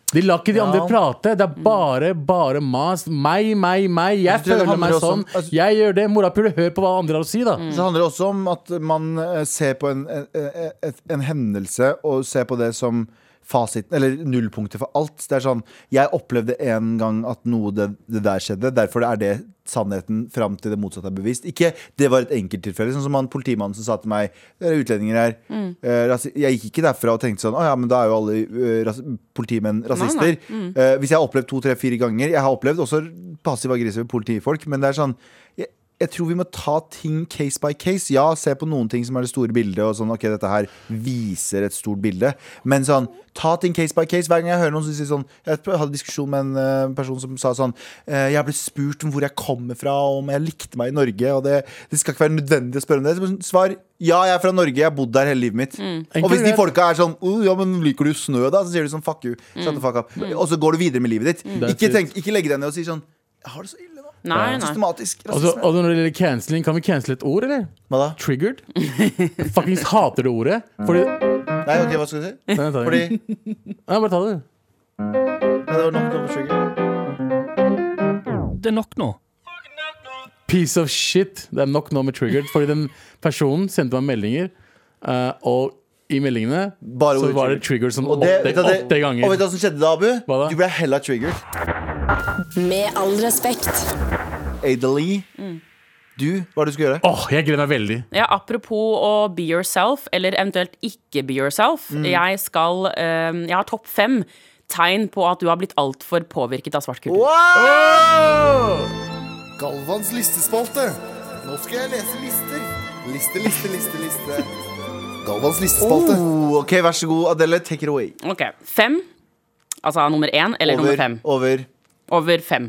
De lar ikke de andre prate. Det er bare bare mas. Meg, meg, meg. Jeg
Jeg tror det
føler meg
handler også
sånn.
om- altså-
Jeg gjør det. Morapule, hør på hva andre har å si, da.
Så handler det også om at man eh, ser på en, en, en, en hendelse og ser på det som fasiten, eller nullpunktet for alt. Det er sånn, Jeg opplevde en gang at noe det, det der skjedde, derfor er det sannheten fram til det motsatte er bevist. Ikke det var et enkelttilfelle. Sånn som han politimannen som sa til meg Dere er utlendinger her. eh, rasi- jeg gikk ikke derfra og tenkte sånn Å ja, men da er jo alle eh, ras politimenn rasister. Eh, hvis jeg har opplevd to, tre, fire ganger Jeg har opplevd også passiv aggressive politifolk, men det er sånn jeg, jeg tror vi må ta ting case by case. Ja, se på noen ting som er det store bildet, og sånn, ok, dette her viser et stort bilde. Men sånn, ta ting case by case. Hver gang jeg hører noen som sier sånn Jeg hadde en diskusjon med en eh, person som sa sånn eh, Jeg ble spurt om hvor jeg kommer fra, og om jeg likte meg i Norge, og det, det skal ikke være nødvendig å spørre om det. Så bare sånn, Svar ja, jeg er fra Norge, jeg har bodd der hele livet mitt.
Mm.
Og hvis de folka er sånn «Uh, Ja, men liker du snø, da? Så sier du sånn fuck you.
Mm.
Shut the fuck up. Og så går du videre med livet ditt. Ikke,
Mm. That's it.
tenk, ikke legge deg ned og si sånn Jeg har det så ille nå.
Nei, nei.
Systematisk
Og så-
rasisme.
Altså, og når det gjelder canceling, kan vi cancele et ord, eller?
Hva da?
Triggered. Fuckings hater det ordet. Fordi
Nei, ok, hva skal du si?
Nei, ta det.
Fordi
Nei, bare ta det.
Nei, det var nok Double Trigger.
Det er nok nå.
Piece of shit. Det er nok nå med triggered. Fordi den personen sendte meg meldinger, eh, og i meldingene
Bare
så
ordet
var det triggered sånn åtte,
vet du hva det-
åtte ganger.
Og vet du hva som skjedde da, Abu?
Hva da?
Du ble hella triggered.
Med all respekt.
Adelie, du, hva er det du skulle gjøre?
Åh, jeg gleder meg veldig.
Ja, apropos å be yourself, eller eventuelt ikke be yourself.
Mm.
Jeg skal eh, Jeg har topp fem tegn på at du har blitt altfor påvirket av svart kultur.
Galvans listespalte. Nå skal jeg lese lister. Liste, liste, liste, liste. Galvans listespalte.
Oh, ok, vær så god, Adele, take it away.
Ok, Fem. Altså nummer én eller nummer fem.
Over.
Over fem.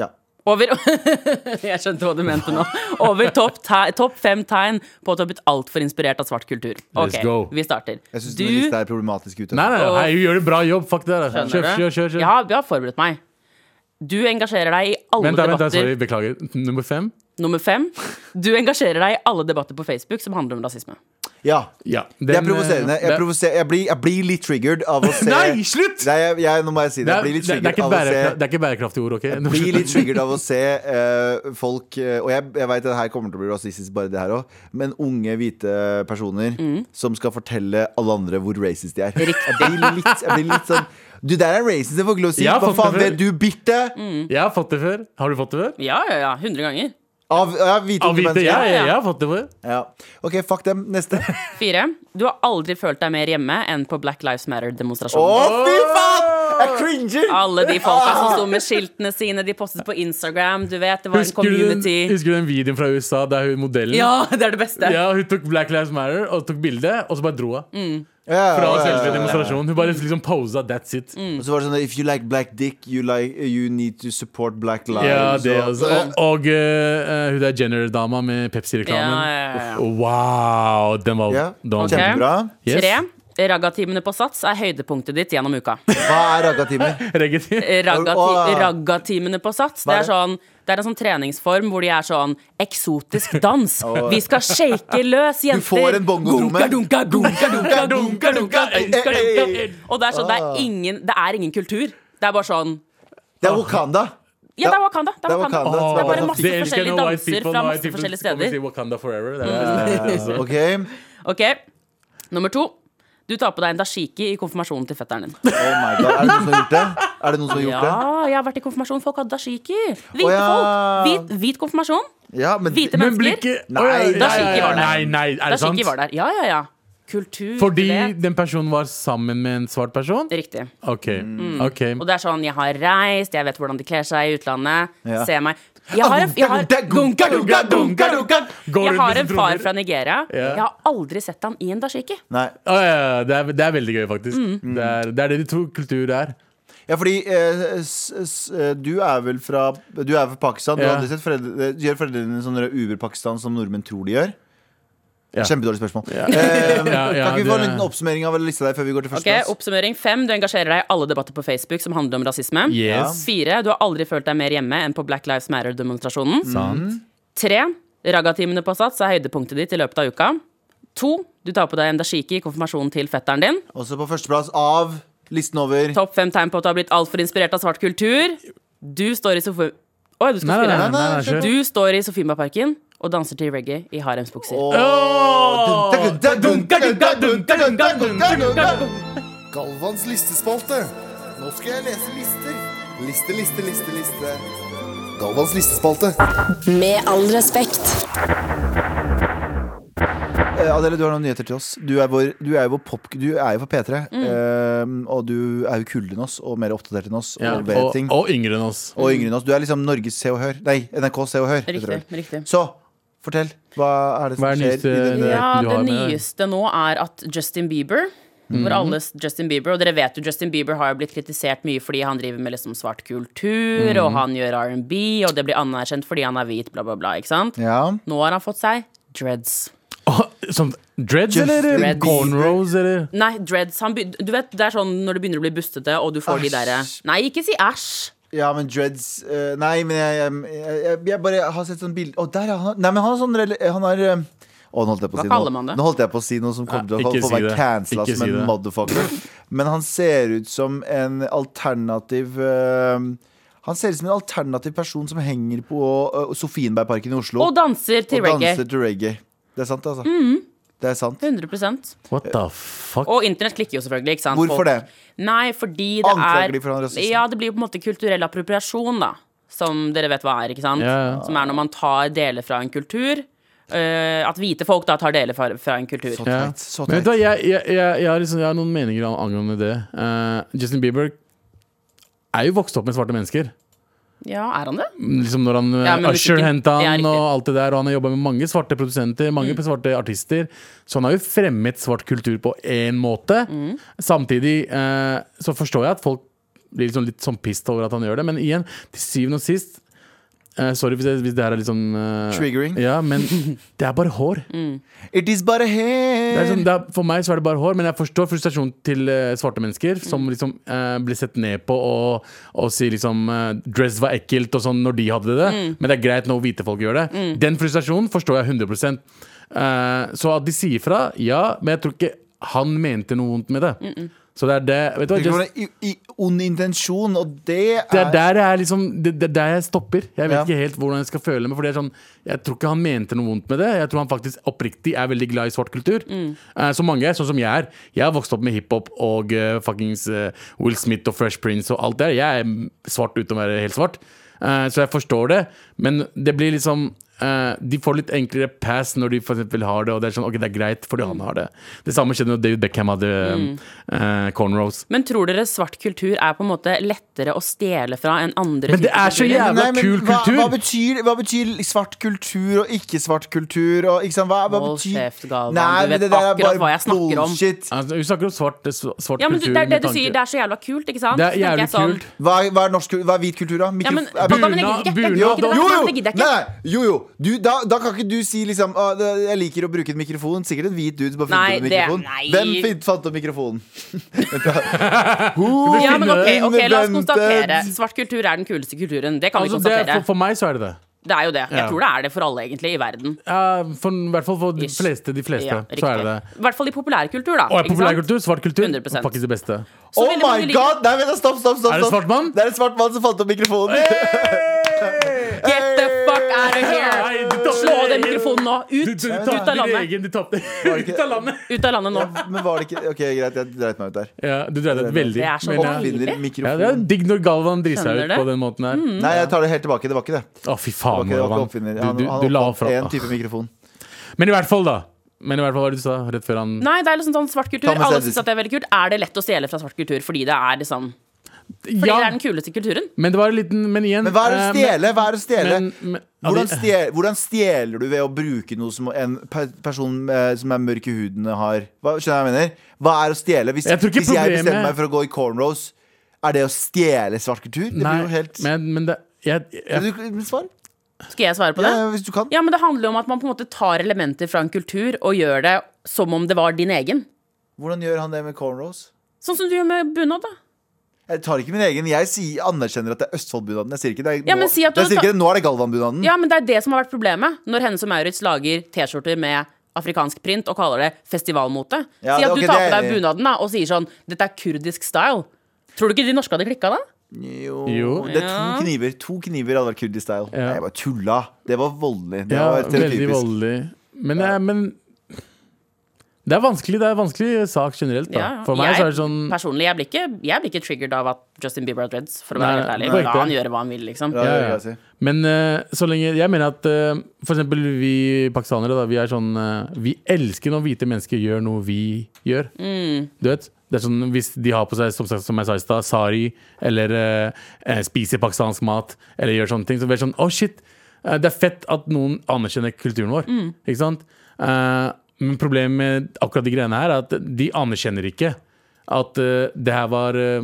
Ja.
Over [LAUGHS] Jeg skjønte hva du mente nå. Over topp te- topp fem tegn på at du har blitt altfor inspirert av svart kultur.
Let's
Ok,
go.
vi starter.
Jeg syns
Du-
din liste er problematisk ute.
Nei, nei, nei, hei, hun gjør en bra jobb. Fuck det. der. Kjør,
Skjønner du?
kjør, kjør. kjør.
Jeg, har, jeg har forberedt meg. Du engasjerer deg i alle
Vent, da, vent, da,
debatter.
sorry, beklager. Nummer fem?
Nummer fem. Du engasjerer deg i alle debatter på Facebook som handler om rasisme.
Ja.
Ja.
Det er
den, eh,
provoserende. Jeg,
det-
provoser, jeg, blir, jeg blir litt triggered av
[LAUGHS]
å se
Nei, slutt!
Nei, jeg, jeg, nå må jeg si det.
Det er,
Jeg blir litt
det, det, er
triggered
ikke
av å se
bærekra- det er ikke bærekraftige ord, OK?
blir
[LAUGHS]
litt triggered av å se eh, folk eh, Og jeg, jeg veit det her kommer til å bli rasistisk, bare det her òg, men unge hvite personer som skal fortelle alle andre hvor racist de er. Jeg blir litt, jeg blir litt sånn Du, der er racist, jeg får ikke lov å si.
Jeg har
Hva
fått
faen
det før.
vet du, bitte?
Jeg har fått det før. Har du fått det før?
Ja, ja, ja. 100 ganger.
Av, av hvite
Av
unge
hvite,
mennesker.
ja,
ja.
ja, jeg har fått det før.
Ja. OK, fuck dem. Neste.
Fire. Du har aldri følt deg mer hjemme enn på Black Lives
Å,
Matter-demonstrasjonen.
fy faen! Jeg cringer!
Alle de folka som sto
[LAUGHS]
med skiltene sine, de postet på Instagram. Du vet, det var en
Husker du, den,
community.
husker du den videoen fra USA der hun modellen
Ja, det er det Mm. beste.
Ja, hun tok Black Lives Matter og tok bilde, og så bare dro hun.
Ja,
Fra
ja, ja,
selve
ja.
demonstrasjonen. Hun bare liksom posa, that's it.
Og så var det sånn If you like black dick, you, like, you need to support black lives.
Ja, det altså-
Og-
også. Og, og eh, hun der Jenner-dama med Pepsi-reklamen.
Ja, ja, ja, ja.
Wow! Den var,
Ja,
den var
Ok.
Kjempebra.
Yes.
Tre. Raggatimene på Sats er høydepunktet ditt gjennom [LAUGHS] uka.
Hva er raggatimer?
Reggaeton.
Raggati-
Åh.
Raggatimene på Sats. Det
Hva er
er, sånn, det er en sånn treningsform hvor de er sånn eksotisk [LAUGHS] dans. Vi skal shake løs, jenter!
får en bongotromme.
Dunka, dunka, dunka, [LAUGHS] dunka, dunka, dunka, dunka,
Hey.
dunka. Og det er sånn, det er ingen, det er ingen kultur. Det er bare sånn
Det er Wakanda.
Ja, det er Wakanda. Det er Wakanda.
Wakanda.
Det er bare
Åh,
masse
Det elsker jeg
forskjellige
når white
danser
people,
fra
når white
masse
people
forskjellige
kommer og
steder. Mm.
sier Wakanda forever. Det er det beste.
Eh, Ok
Ok, Nummer to. Du tar på deg en dashiki i konfirmasjonen til fetteren din.
Oh my god. Er det noen som har gjort det? Er det noen som har gjort det?
Ja, jeg har vært i konfirmasjon. Folk har dashiki. Hvite
Å, ja.
folk. Hvit, hvit konfirmasjon.
Ja, men
Hvite
Men blir
mennesker.
ikke
Nei,
Å, ja, ja,
Dashiki
ja, ja,
var der.
Nei, nei, er det sant?
Dashiki var der. Ja, ja, ja. Kultur
Fordi
det.
den personen var sammen med en svart person?
Riktig.
OK. ok
Og det er sånn, jeg har reist, jeg vet hvordan de kler seg i utlandet.
Ja.
Se meg. Jeg har, en- jeg har,
Dunka, dunka, dunka, dunka.
Går
jeg
rundt med
har en
sin
far
trommer.
fra Nigeria.
Ja.
Jeg har aldri sett han i en dashiki.
Nei.
Å, ja, ja, det, er, det er veldig gøy, faktisk.
Mm.
Det, er, det er det de tror kultur er.
Ja, fordi eh, s, s, eh, du er vel fra Du er fra Pakistan. Du
Ja.
har aldri sett foreldre, eh, gjør foreldrene dine sånne Uber-Pakistan som nordmenn tror de gjør?
Ja.
Kjempedårlig spørsmål. Eh,
[LAUGHS] Ja, ja,
kan ikke vi
det
få en
er-
liten oppsummering av lista der før vi går til
Ok,
første plass?
Oppsummering fem. Du engasjerer deg i alle debatter på Facebook som handler om rasisme.
Yes.
Fire. Du har aldri følt deg mer hjemme enn på Black Lives Matter-demonstrasjonen. Tre. Raggatimene på Sats er høydepunktet ditt i løpet av uka. To. Du tar på deg en dashiki i konfirmasjonen til fetteren din.
Også på førsteplass av listen over
Topp fem tegn på at du har blitt altfor inspirert av svart kultur. Du står i sofa... Oi, du skal
Nei, nei, nei, nei,
spille.
nei, nei, kjør.
Du står i Sofimaparken og danser til reggae i haremsbukser.
Galvans listespalte. Nå skal jeg lese lister. Liste, liste, liste, liste. Galvans listespalte.
Med all respekt.
Eh, Adele, du har noen nyheter til oss. Du er, vår, du er jo vår pop... Du er jo på P3.
Mm.
eh, og du er jo kulere enn oss og mer oppdatert enn oss.
Ja.
Og vet
Og,
ting.
og yngre enn oss.
og yngre enn oss. Du er liksom Norges Se og Hør. Nei, NRK Se og Hør. heter
Riktig,
det vel.
riktig.
Så fortell. Hva er det som
Hva er
skjer
nyeste-
i denne
Ja.
Ja,
eh, du
det
har med Mm. deg.
nyeste nå er at Justin Bieber Hvor alle s- Justin Bieber Og dere vet jo, Justin Bieber har jo blitt kritisert mye fordi han driver med liksom svart kultur,
Mm.
og han gjør R&B, og det blir anerkjent fordi han er hvit, bla, bla, bla. Ikke sant?
Ja.
Nå har han fått seg dreads.
Åh, som dreads
Justin
eller
Bieber.
cornrows eller
Nei, dreads han, be- Du vet, det er sånn når du begynner å bli bustete, og du får de
Æsj.
derre Nei, ikke si æsj!
ja, men dreads eh, Nei, men jeg, jeg, jeg, jeg bare har sett sånn bilde Å, der, ja. han har- Nei, men han har sånn rel- Han har eh, å, nå holdt, jeg på å
Hva
si
kaller
noe.
man det?
nå holdt jeg på å si noe som kommer
Nei,
til å
ikke
få
si
meg
det.
cancela
Ikke
som
si
en
det.
motherfucker. Men han ser ut som en alternativ eh, Han ser ut som en alternativ person som henger på eh, Sofienbergparken i Oslo
Og danser til
og
reggae. Mm.
danser til reggae. Det er sant, altså. Det er sant.
100
What the fuck?
Og internett klikker jo selvfølgelig. ikke sant?
Hvorfor
Folk-
det?
Nei, fordi det
Anklager
er
de for han rasisme?
Ja, det blir jo på en måte kulturell appropriasjon, da. Som dere vet hva er, ikke sant?
Ja, ja.
Som er når man tar deler fra en kultur. eh, at hvite folk da tar deler fra, fra en kultur.
Så
Ja.
teit. Så
Men vet
teit.
du hva, jeg, jeg, jeg, jeg, har liksom, jeg har noen meninger an- angående det. Eh, Justin Bieber er jo vokst opp med svarte mennesker.
Ja, er han det?
Liksom når han
Ja,
eh,
med
Usher
musikken.
hentet
Det er
han
riktig. Mm.
og alt det der, og han har jobba med mange svarte produsenter, mange svarte artister, så han har jo fremmet svart kultur på én måte.
Mm.
Samtidig eh, så forstår jeg at folk blir liksom litt sånn pissed over at han gjør det, men igjen, til syvende og sist Eh, sorry hvis, jeg, hvis det her er litt sånn eh,
Triggering.
Ja, men det er bare hår.
It is bare
Det er
hair!
sånn, det er, for meg så er det bare hår, men jeg forstår frustrasjonen til eh, svarte mennesker som liksom eh, blir sett ned på og, og sier liksom eh, dress var ekkelt og sånn når de hadde det. Men det er greit når hvite folk gjør det. Den frustrasjonen forstår jeg 100 Eh, Så at de sier fra, ja, men jeg tror ikke han mente noe vondt med det. Så det er det vet du hva,
Det kan
just,
være i, i ond intensjon, og det
det
er
er der jeg, er liksom, det, det er der jeg stopper. Jeg vet
Ja.
ikke helt hvordan jeg skal føle meg. For det er sånn, jeg tror ikke han mente noe vondt med det. Jeg tror han faktisk oppriktig er veldig glad i svart kultur.
Mm.
Eh, så mange er sånn som jeg er. Jeg har vokst opp med hiphop og eh, fuckings eh, Will Smith og Fresh Prince og alt det der. Jeg er svart uten å være helt svart. Eh, så jeg forstår det. Men det blir liksom eh, de får litt enklere pass når de for eksempel har det, og det er sånn, ok, det er greit fordi han har det. Det samme skjedde når David Beckham hadde
Mm.
eh, cornrows.
Men tror dere svart kultur er på en måte lettere å stjele fra enn andre
Men det
typer
er så
kulturer?
jævlig- Jævla kul
hva,
kultur.
Hva betyr, hva betyr svart kultur og ikke-svart kultur? Og, ikke sant? Hva, hva
Hold
betyr
kjeft, Galvan.
Nei,
Du
men
vet
det der er
akkurat
bare
hva jeg snakker om.
bullshit.
Altså, vi snakker om svart, svart
Ja, men du,
kultur
det er det
med
du
tanke-
sier. Det er så jævla kult, ikke sant?
Det er
Så tenker jeg
jævlig
sånn-
kult.
Hva er, hva er, norsk, kultur- hva er hvit kultur, da?
Ja,
Mikrof-
men,
er-
da, da, men jeg gidder ikke, jeg
Bunad-
gidder ikke,
jo,
jeg
jo,
gidder ikke, jeg gidder
nei,
ikke.
nei, jo, jo. Du, da, da kan ikke du si liksom «Å, det- Jeg liker å bruke en mikrofon. Sikkert en hvit dude som har funnet
Nei,
opp en
det-
mikrofon.
nei.
Hvem fint fant opp
[LAUGHS]
mikrofonen?
Ja, men ok, ok, la oss
Invented.
konstatere. Svart kultur er den kuleste kulturen. Det kan vi
Altså, det er,
konstatere.
for, for meg så er det det.
Det er jo det. Jeg
Ja.
tror det er det for alle, egentlig, i verden.
Ja, for, I hvert fall for de
Ish.
fleste. De fleste
Ja,
så er det det.
I hvert fall i populærkultur, da.
Og
ikke sant?
populærkultur, svart kultur,
100%.
faktisk det beste.
Så
Oh
veldig mange
my
liker-
god! Nei, vent, da, stopp, stopp, stopp.
Er det
stopp.
svart mann?
Det er en svart mann som fant opp mikrofonen. [LAUGHS]
Get the fuck out of
Nei, du
here!
tar-
Slå av den mikrofonen nå.
Du,
Ut!
du,
Ut
tapte
av
din
landet.
egen, du tapte [LAUGHS] ut av landet.
Ut av landet nå.
Men var det ikke Ok, greit, jeg dreit meg ut der.
Ja, du dreide deg veldig.
Det er så
men,
deilig.
ja.
Oppfinner
Ja, det er
mikrofon.
digg når Galvan driter seg
Skjønner
ut
det.
på den måten her. Å,
Nei, jeg tar det helt tilbake. Det var ikke det.
fy
Det
faen,
var ikke, det var ikke
Galvan.
oppfinner.
Du,
Han,
du, du
han
la
oppfant
fra
en type mikrofon.
Men i hvert fall, da. Men i hvert fall, hva var det du sa rett før han
Nei, det er liksom sånn svart kultur.
Thomas
Alle
Edison.
syns at det er veldig kult. Er det lett å stjele fra svart kultur fordi det er liksom Fordi det
Ja,
er den kuleste kulturen?
men det var en liten Men igjen
Men hva er det å
eh,
stjele? Hva er det å stjele?
men- men- ja,
Hvordan,
de-
stjel, hvordan stjeler du ved å bruke noe som en pe- person eh, som er mørk i huden, har? Hva, skjønner du hva jeg mener? Hva er å stjele? Hvis,
Jeg tror ikke
hvis
problemet-
jeg bestemmer meg for å gå i cornrows, er det å stjele svart kultur? Det
Nei,
blir jo helt
men, men det jeg, jeg,
Vil du svar?
Skal jeg svare på det?
Ja, hvis du kan.
Ja, men det handler jo om at man på en måte tar elementer fra en kultur og gjør det som om det var din egen.
Hvordan gjør han det med cornrows?
Sånn som du gjør med bunad, da.
Jeg tar ikke min egen. Jeg sier, anerkjenner at det er Østfold-bunaden. Jeg sier ikke det er,
Ja, men
nå,
si at du
jeg sier
har ta-
ikke det, nå er det Galvan-bunaden.
Ja, men det er det som har vært problemet når Hennes og Maurits lager T-skjorter med afrikansk print og kaller det festivalmote.
Ja,
si at
det- ok,
du
det
tar på
er
deg
jeg enig i.
bunaden da, og sier sånn Dette er kurdisk style. Tror du ikke de norske hadde klikka da?
Jo.
Jo.
Det er to kniver. To kniver hadde vært kurdisk style.
Ja.
Nei, jeg bare tulla. Det var voldelig. Det
Ja,
var
veldig
stereotypisk.
voldelig. Men, jeg- men det er vanskelig Det er vanskelig sak generelt. Da.
Ja, ja.
For meg
jeg,
så er det sånn
Personlig, jeg blir, ikke, jeg blir ikke triggered av at Justin Bieber har dreads, for å være
Nei,
helt ærlig.
nei,
La
ikke.
han gjøre hva han vil, liksom.
Ja,
Ja,
det vil
ja.
jeg si.
Men eh, så lenge Jeg mener at eh, for eksempel vi pakistanere, da, vi er sånn eh, Vi elsker når hvite mennesker gjør noe vi gjør. Du vet? Det er sånn, Hvis de har på seg som, sagt, som jeg sa i stad, sari, eller eh, eh, spiser pakistansk mat, eller gjør sånne ting, så blir det sånn Å, shit! eh, det er fett at noen anerkjenner kulturen vår. Ikke sant? Eh, men problemet med akkurat de greiene her, er at de anerkjenner ikke at eh, det her var eh,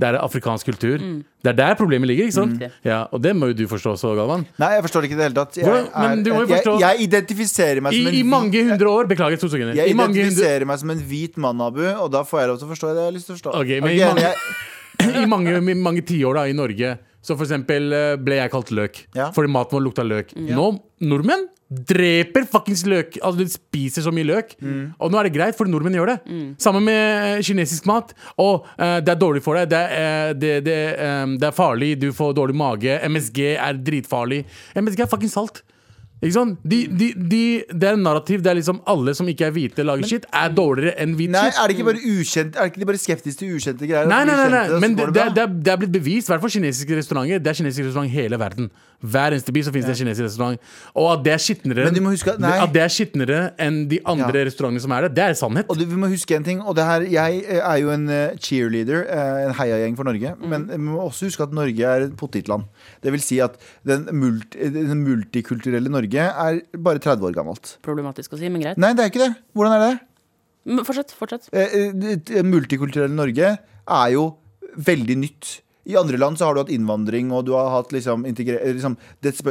det er afrikansk kultur. Det er der problemet ligger. ikke sant?
Riktig.
Ja, Og det må jo du forstå også, Galvan.
Nei, jeg forstår det ikke i det hele tatt. Jeg,
Hvordan- men du må jo
jeg,
forstå-
jeg identifiserer meg
I,
som en
i
hvit-
mange hundre år. Beklager, to sekunder.
Altså, Jeg
I mange hundre,
identifiserer meg som en hvit mann, Abu, og da får jeg lov til å forstå det jeg har lyst til å forstå.
Ok, men
Ok,
i mange-
jeg,
i mange, i mange tiår da, i Norge så for eksempel eh, ble jeg kalt løk.
Ja. Mm.
Fordi maten vår lukta løk. Nå, nordmenn dreper fuckings løk. Altså, de spiser så mye løk.
Mm.
Og nå er det greit, fordi nordmenn gjør det. Sammen med eh, kinesisk mat. Og eh, det er dårlig for deg. Det er, eh, det, det, eh, det er farlig. Du får dårlig mage. MSG er dritfarlig. MSG er fuckings salt. Ikke sant? De, de, de, det er en narrativ der liksom alle som ikke er hvite, lager shit, er dårligere enn hvit
nei,
shit.
er det ikke bare ukjent Er det ikke de bare skeptiske til ukjente greier?
Nei,
Og
nei, nei,
ukjente, og
nei.
så
men det,
går det
det,
bra?
er- det er blitt bevist, i hvert fall kinesiske restauranter. Det er kinesiske restaurant i hele verden. Hver eneste by så finnes det en kinesisk restaurant. Og at det er skitnere
Men du må huske at- nei.
det er skitnere enn de andre
Ja.
restaurantene som er der, det er sannhet.
Og du, vi må huske en ting, og det her Jeg eh, er jo en eh, cheerleader, eh, en heiagjeng for Norge, men vi må også huske at Norge er et potetland. Det vil si at den, multi, den multikulturelle Norge er bare 30 år gammelt.
Problematisk å si, men greit.
Nei, det er ikke det. Hvordan er det?
Men Fortsett. fortsett
Eh, eh, det multikulturelle Norge er jo veldig nytt. I andre land så har du hatt innvandring, og du har hatt liksom, integre, eh, liksom det, sp-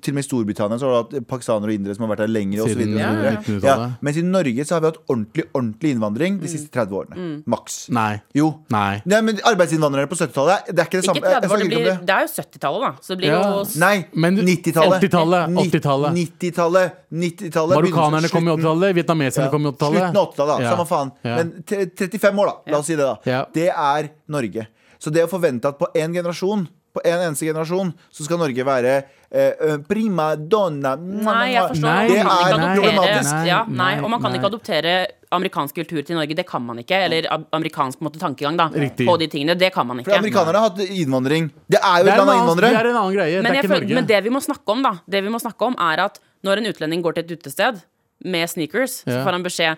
Til og med i Storbritannia så har du hatt pakistanere og indere som har vært der lenger, osv.
Siden
Ja,
1900-tallet.
ja. Mens i Norge så har vi hatt ordentlig ordentlig innvandring de siste 30 årene. Maks.
Nei.
Jo.
Nei.
Nei, men Arbeidsinnvandrere på 70-tallet, det er ikke det
Ikke
samme. Jeg- jeg
30 år,
snakker
det,
ikke om
blir,
det.
det er jo 70-tallet, da. Så det blir
Ja.
jo
Nei,
Men du-
90-tallet.
80-tallet, 80-tallet.
90-tallet. 90-tallet,
Marokkanerne kom i
begynnelsen-
80-tallet, vietnameserne kom i 80-tallet.
Slutten av 80-tallet, da.
Ja.
Samme faen.
Ja.
Men t- 35 år, da. La oss si det, da.
Ja.
Det er Norge. Så det å forvente at på én generasjon på en eneste generasjon så skal Norge være eh, prima donna
Nei, jeg forstår.
Nei,
det er
man kan ikke adoptere,
problematisk.
ja, nei,
Nei,
og man kan
nei.
ikke adoptere amerikansk kultur til Norge. Det kan man ikke. Eller ab- amerikansk på en måte, tankegang da,
Riktig.
på de tingene. Det kan man ikke.
For amerikanerne har hatt innvandring. Det er jo
Det
et
er, en
land av
annen, det er
innvandrere.
en annen greie.
Men,
det er
jeg
ikke
føler,
Norge.
men det vi må snakke om, da Det vi må snakke om er at når en utlending går til et utested med sneakers, så
Ja.
får han beskjed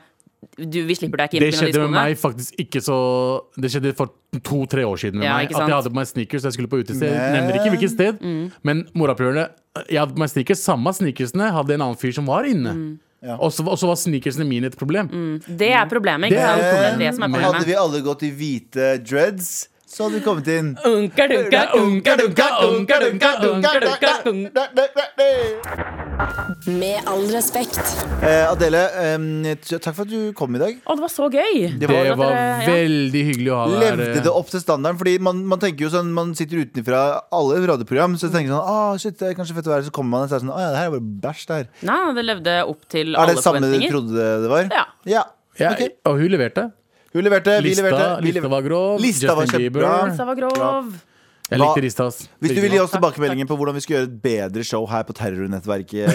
du, vi slipper deg ikke inn
Det
på grunn av de
skjedde med
skoene.
meg faktisk ikke så Det skjedde for to-tre år siden med
Ja,
meg.
ikke
At jeg
sant? Mm.
hadde på meg sneakers da jeg skulle på utested. Jeg
Men-
Nevner ikke hvilket sted, men morapulerne Jeg hadde på meg sneakers, samme sneakersene hadde en annen fyr som var inne.
Mm.
Og så og så var sneakersene mine et problem.
Det er problemet. Ikke
Det er
sant? Det
Men
er det som er
hadde vi
problemet.
alle gått i hvite dreads, så hadde vi kommet inn.
Unka, dunka, unka, dunka, unka, dunka, unka, dunka, unka.
Med all respekt.
Eh, Adele, eh, t- takk for at du kom i dag.
Å, det var så gøy!
Det
Det
var,
at
var
dere- ja.
veldig hyggelig å ha deg her.
levde det opp til standarden? Fordi man, man tenker jo sånn Man sitter utenfra alle radioprogram, så tenker man sånn ah, shit, det er kanskje fett å være Så kommer man og så er det sånn Å ja, det her er bare bæsj, det her.
Nei, det levde opp til
Er det
alle
det samme du
forventninger.
trodde det var?
Ja.
Ja,
Ok.
Og hun leverte.
Hun leverte, vi
Lista,
leverte. Vi
lista
leverte.
var grov.
Lista var
Justin Bieber.
kjempebra.
Lista var grov.
Jeg
Hva-
likte lista. ass.
Hvis du vil gi oss
Takk,
tilbakemeldingen på hvordan vi skal gjøre et bedre show her på terrornettverket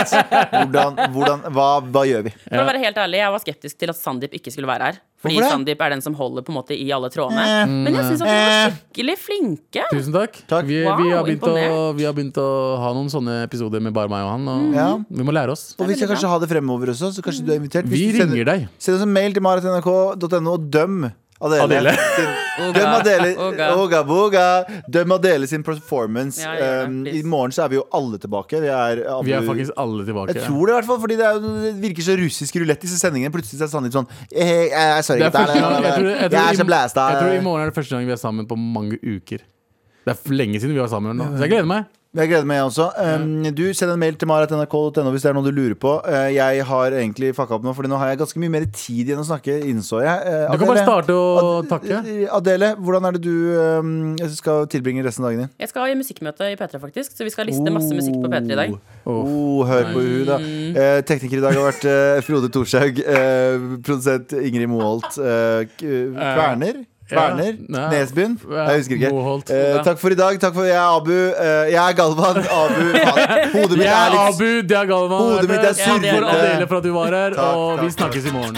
hvordan, hvordan, hva, hva gjør vi?
For å være helt ærlig, Jeg var skeptisk til at Sandeep ikke skulle være her. Fordi
Hvorfor det? Eh.
Sandeep er den som holder på en måte i alle trådene. Men jeg syns at de var skikkelig flinke.
Tusen takk.
Takk.
Vi,
Wow,
vi, har begynt å,
imponert.
vi har begynt å ha noen sånne episoder med bare meg og han. Og
Ja.
Vi må lære oss.
Og vi skal kanskje ha det fremover også, så kanskje du er invitert.
Vi
du sender-
ringer deg.
Send oss en mail til maratnrk.no og døm Adele.
Adele.
Sin- døm Adele
Oga.
Oga, boga. Døm Adele sin performance.
Ja, gjør det,
Um, I
please.
morgen så er vi jo alle tilbake. Vi er,
Vi er
Abu-
faktisk alle tilbake.
jeg tror det, i hvert fall, fordi det, er, jo- det virker så russisk rulett i disse sendingene. Plutselig så er Sandeep sånn eh, eh, Jeg er sorry,
Det er
gutter.
første gang- jeg tror- jeg tror
Jeg er så
i-
blæsta.
Jeg tror i morgen er det første gang vi er sammen på mange uker. Det er f- lenge siden vi var sammen nå. Så jeg gleder meg.
Jeg gleder meg, jeg også. Um, du, Send en mail til maratnrk.no hvis det er noe du lurer på. Uh, jeg har egentlig fucka opp nå, Fordi nå har jeg ganske mye mer tid igjen å snakke, innså jeg. Uh,
Du kan bare
Adele,
starte å takke.
Ad- Eh, Adele, hvordan er det du um, skal tilbringe resten av dagen din?
Jeg skal i musikkmøte i P3, faktisk, så vi skal liste masse musikk på P3 i dag. Mm.
Oh, hør på hun da. Uh, tekniker i dag har vært uh, Frode Thorshaug. Uh, produsent Ingrid Moholt. Uh, K- Kverner?
ja.
Kverner?
Nei.
Nesbyen?
Ja,
Jeg husker ikke.
Moholt.
Eh, takk for i dag. Takk for, jeg er Abu. Eh, jeg er Galvan. Abu.
[LAUGHS]
faen. Hodet mitt
Jeg
er
er
litt
Abu, det er Galvan.
Hodet mitt er eh,
Takk for
surrete.
Adele for at du var her,
Takk,
og vi
takk,
snakkes i morgen.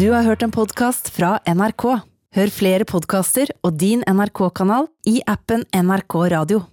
Du har hørt en podkast fra NRK. Hør flere podkaster og din NRK-kanal i appen NRK Radio.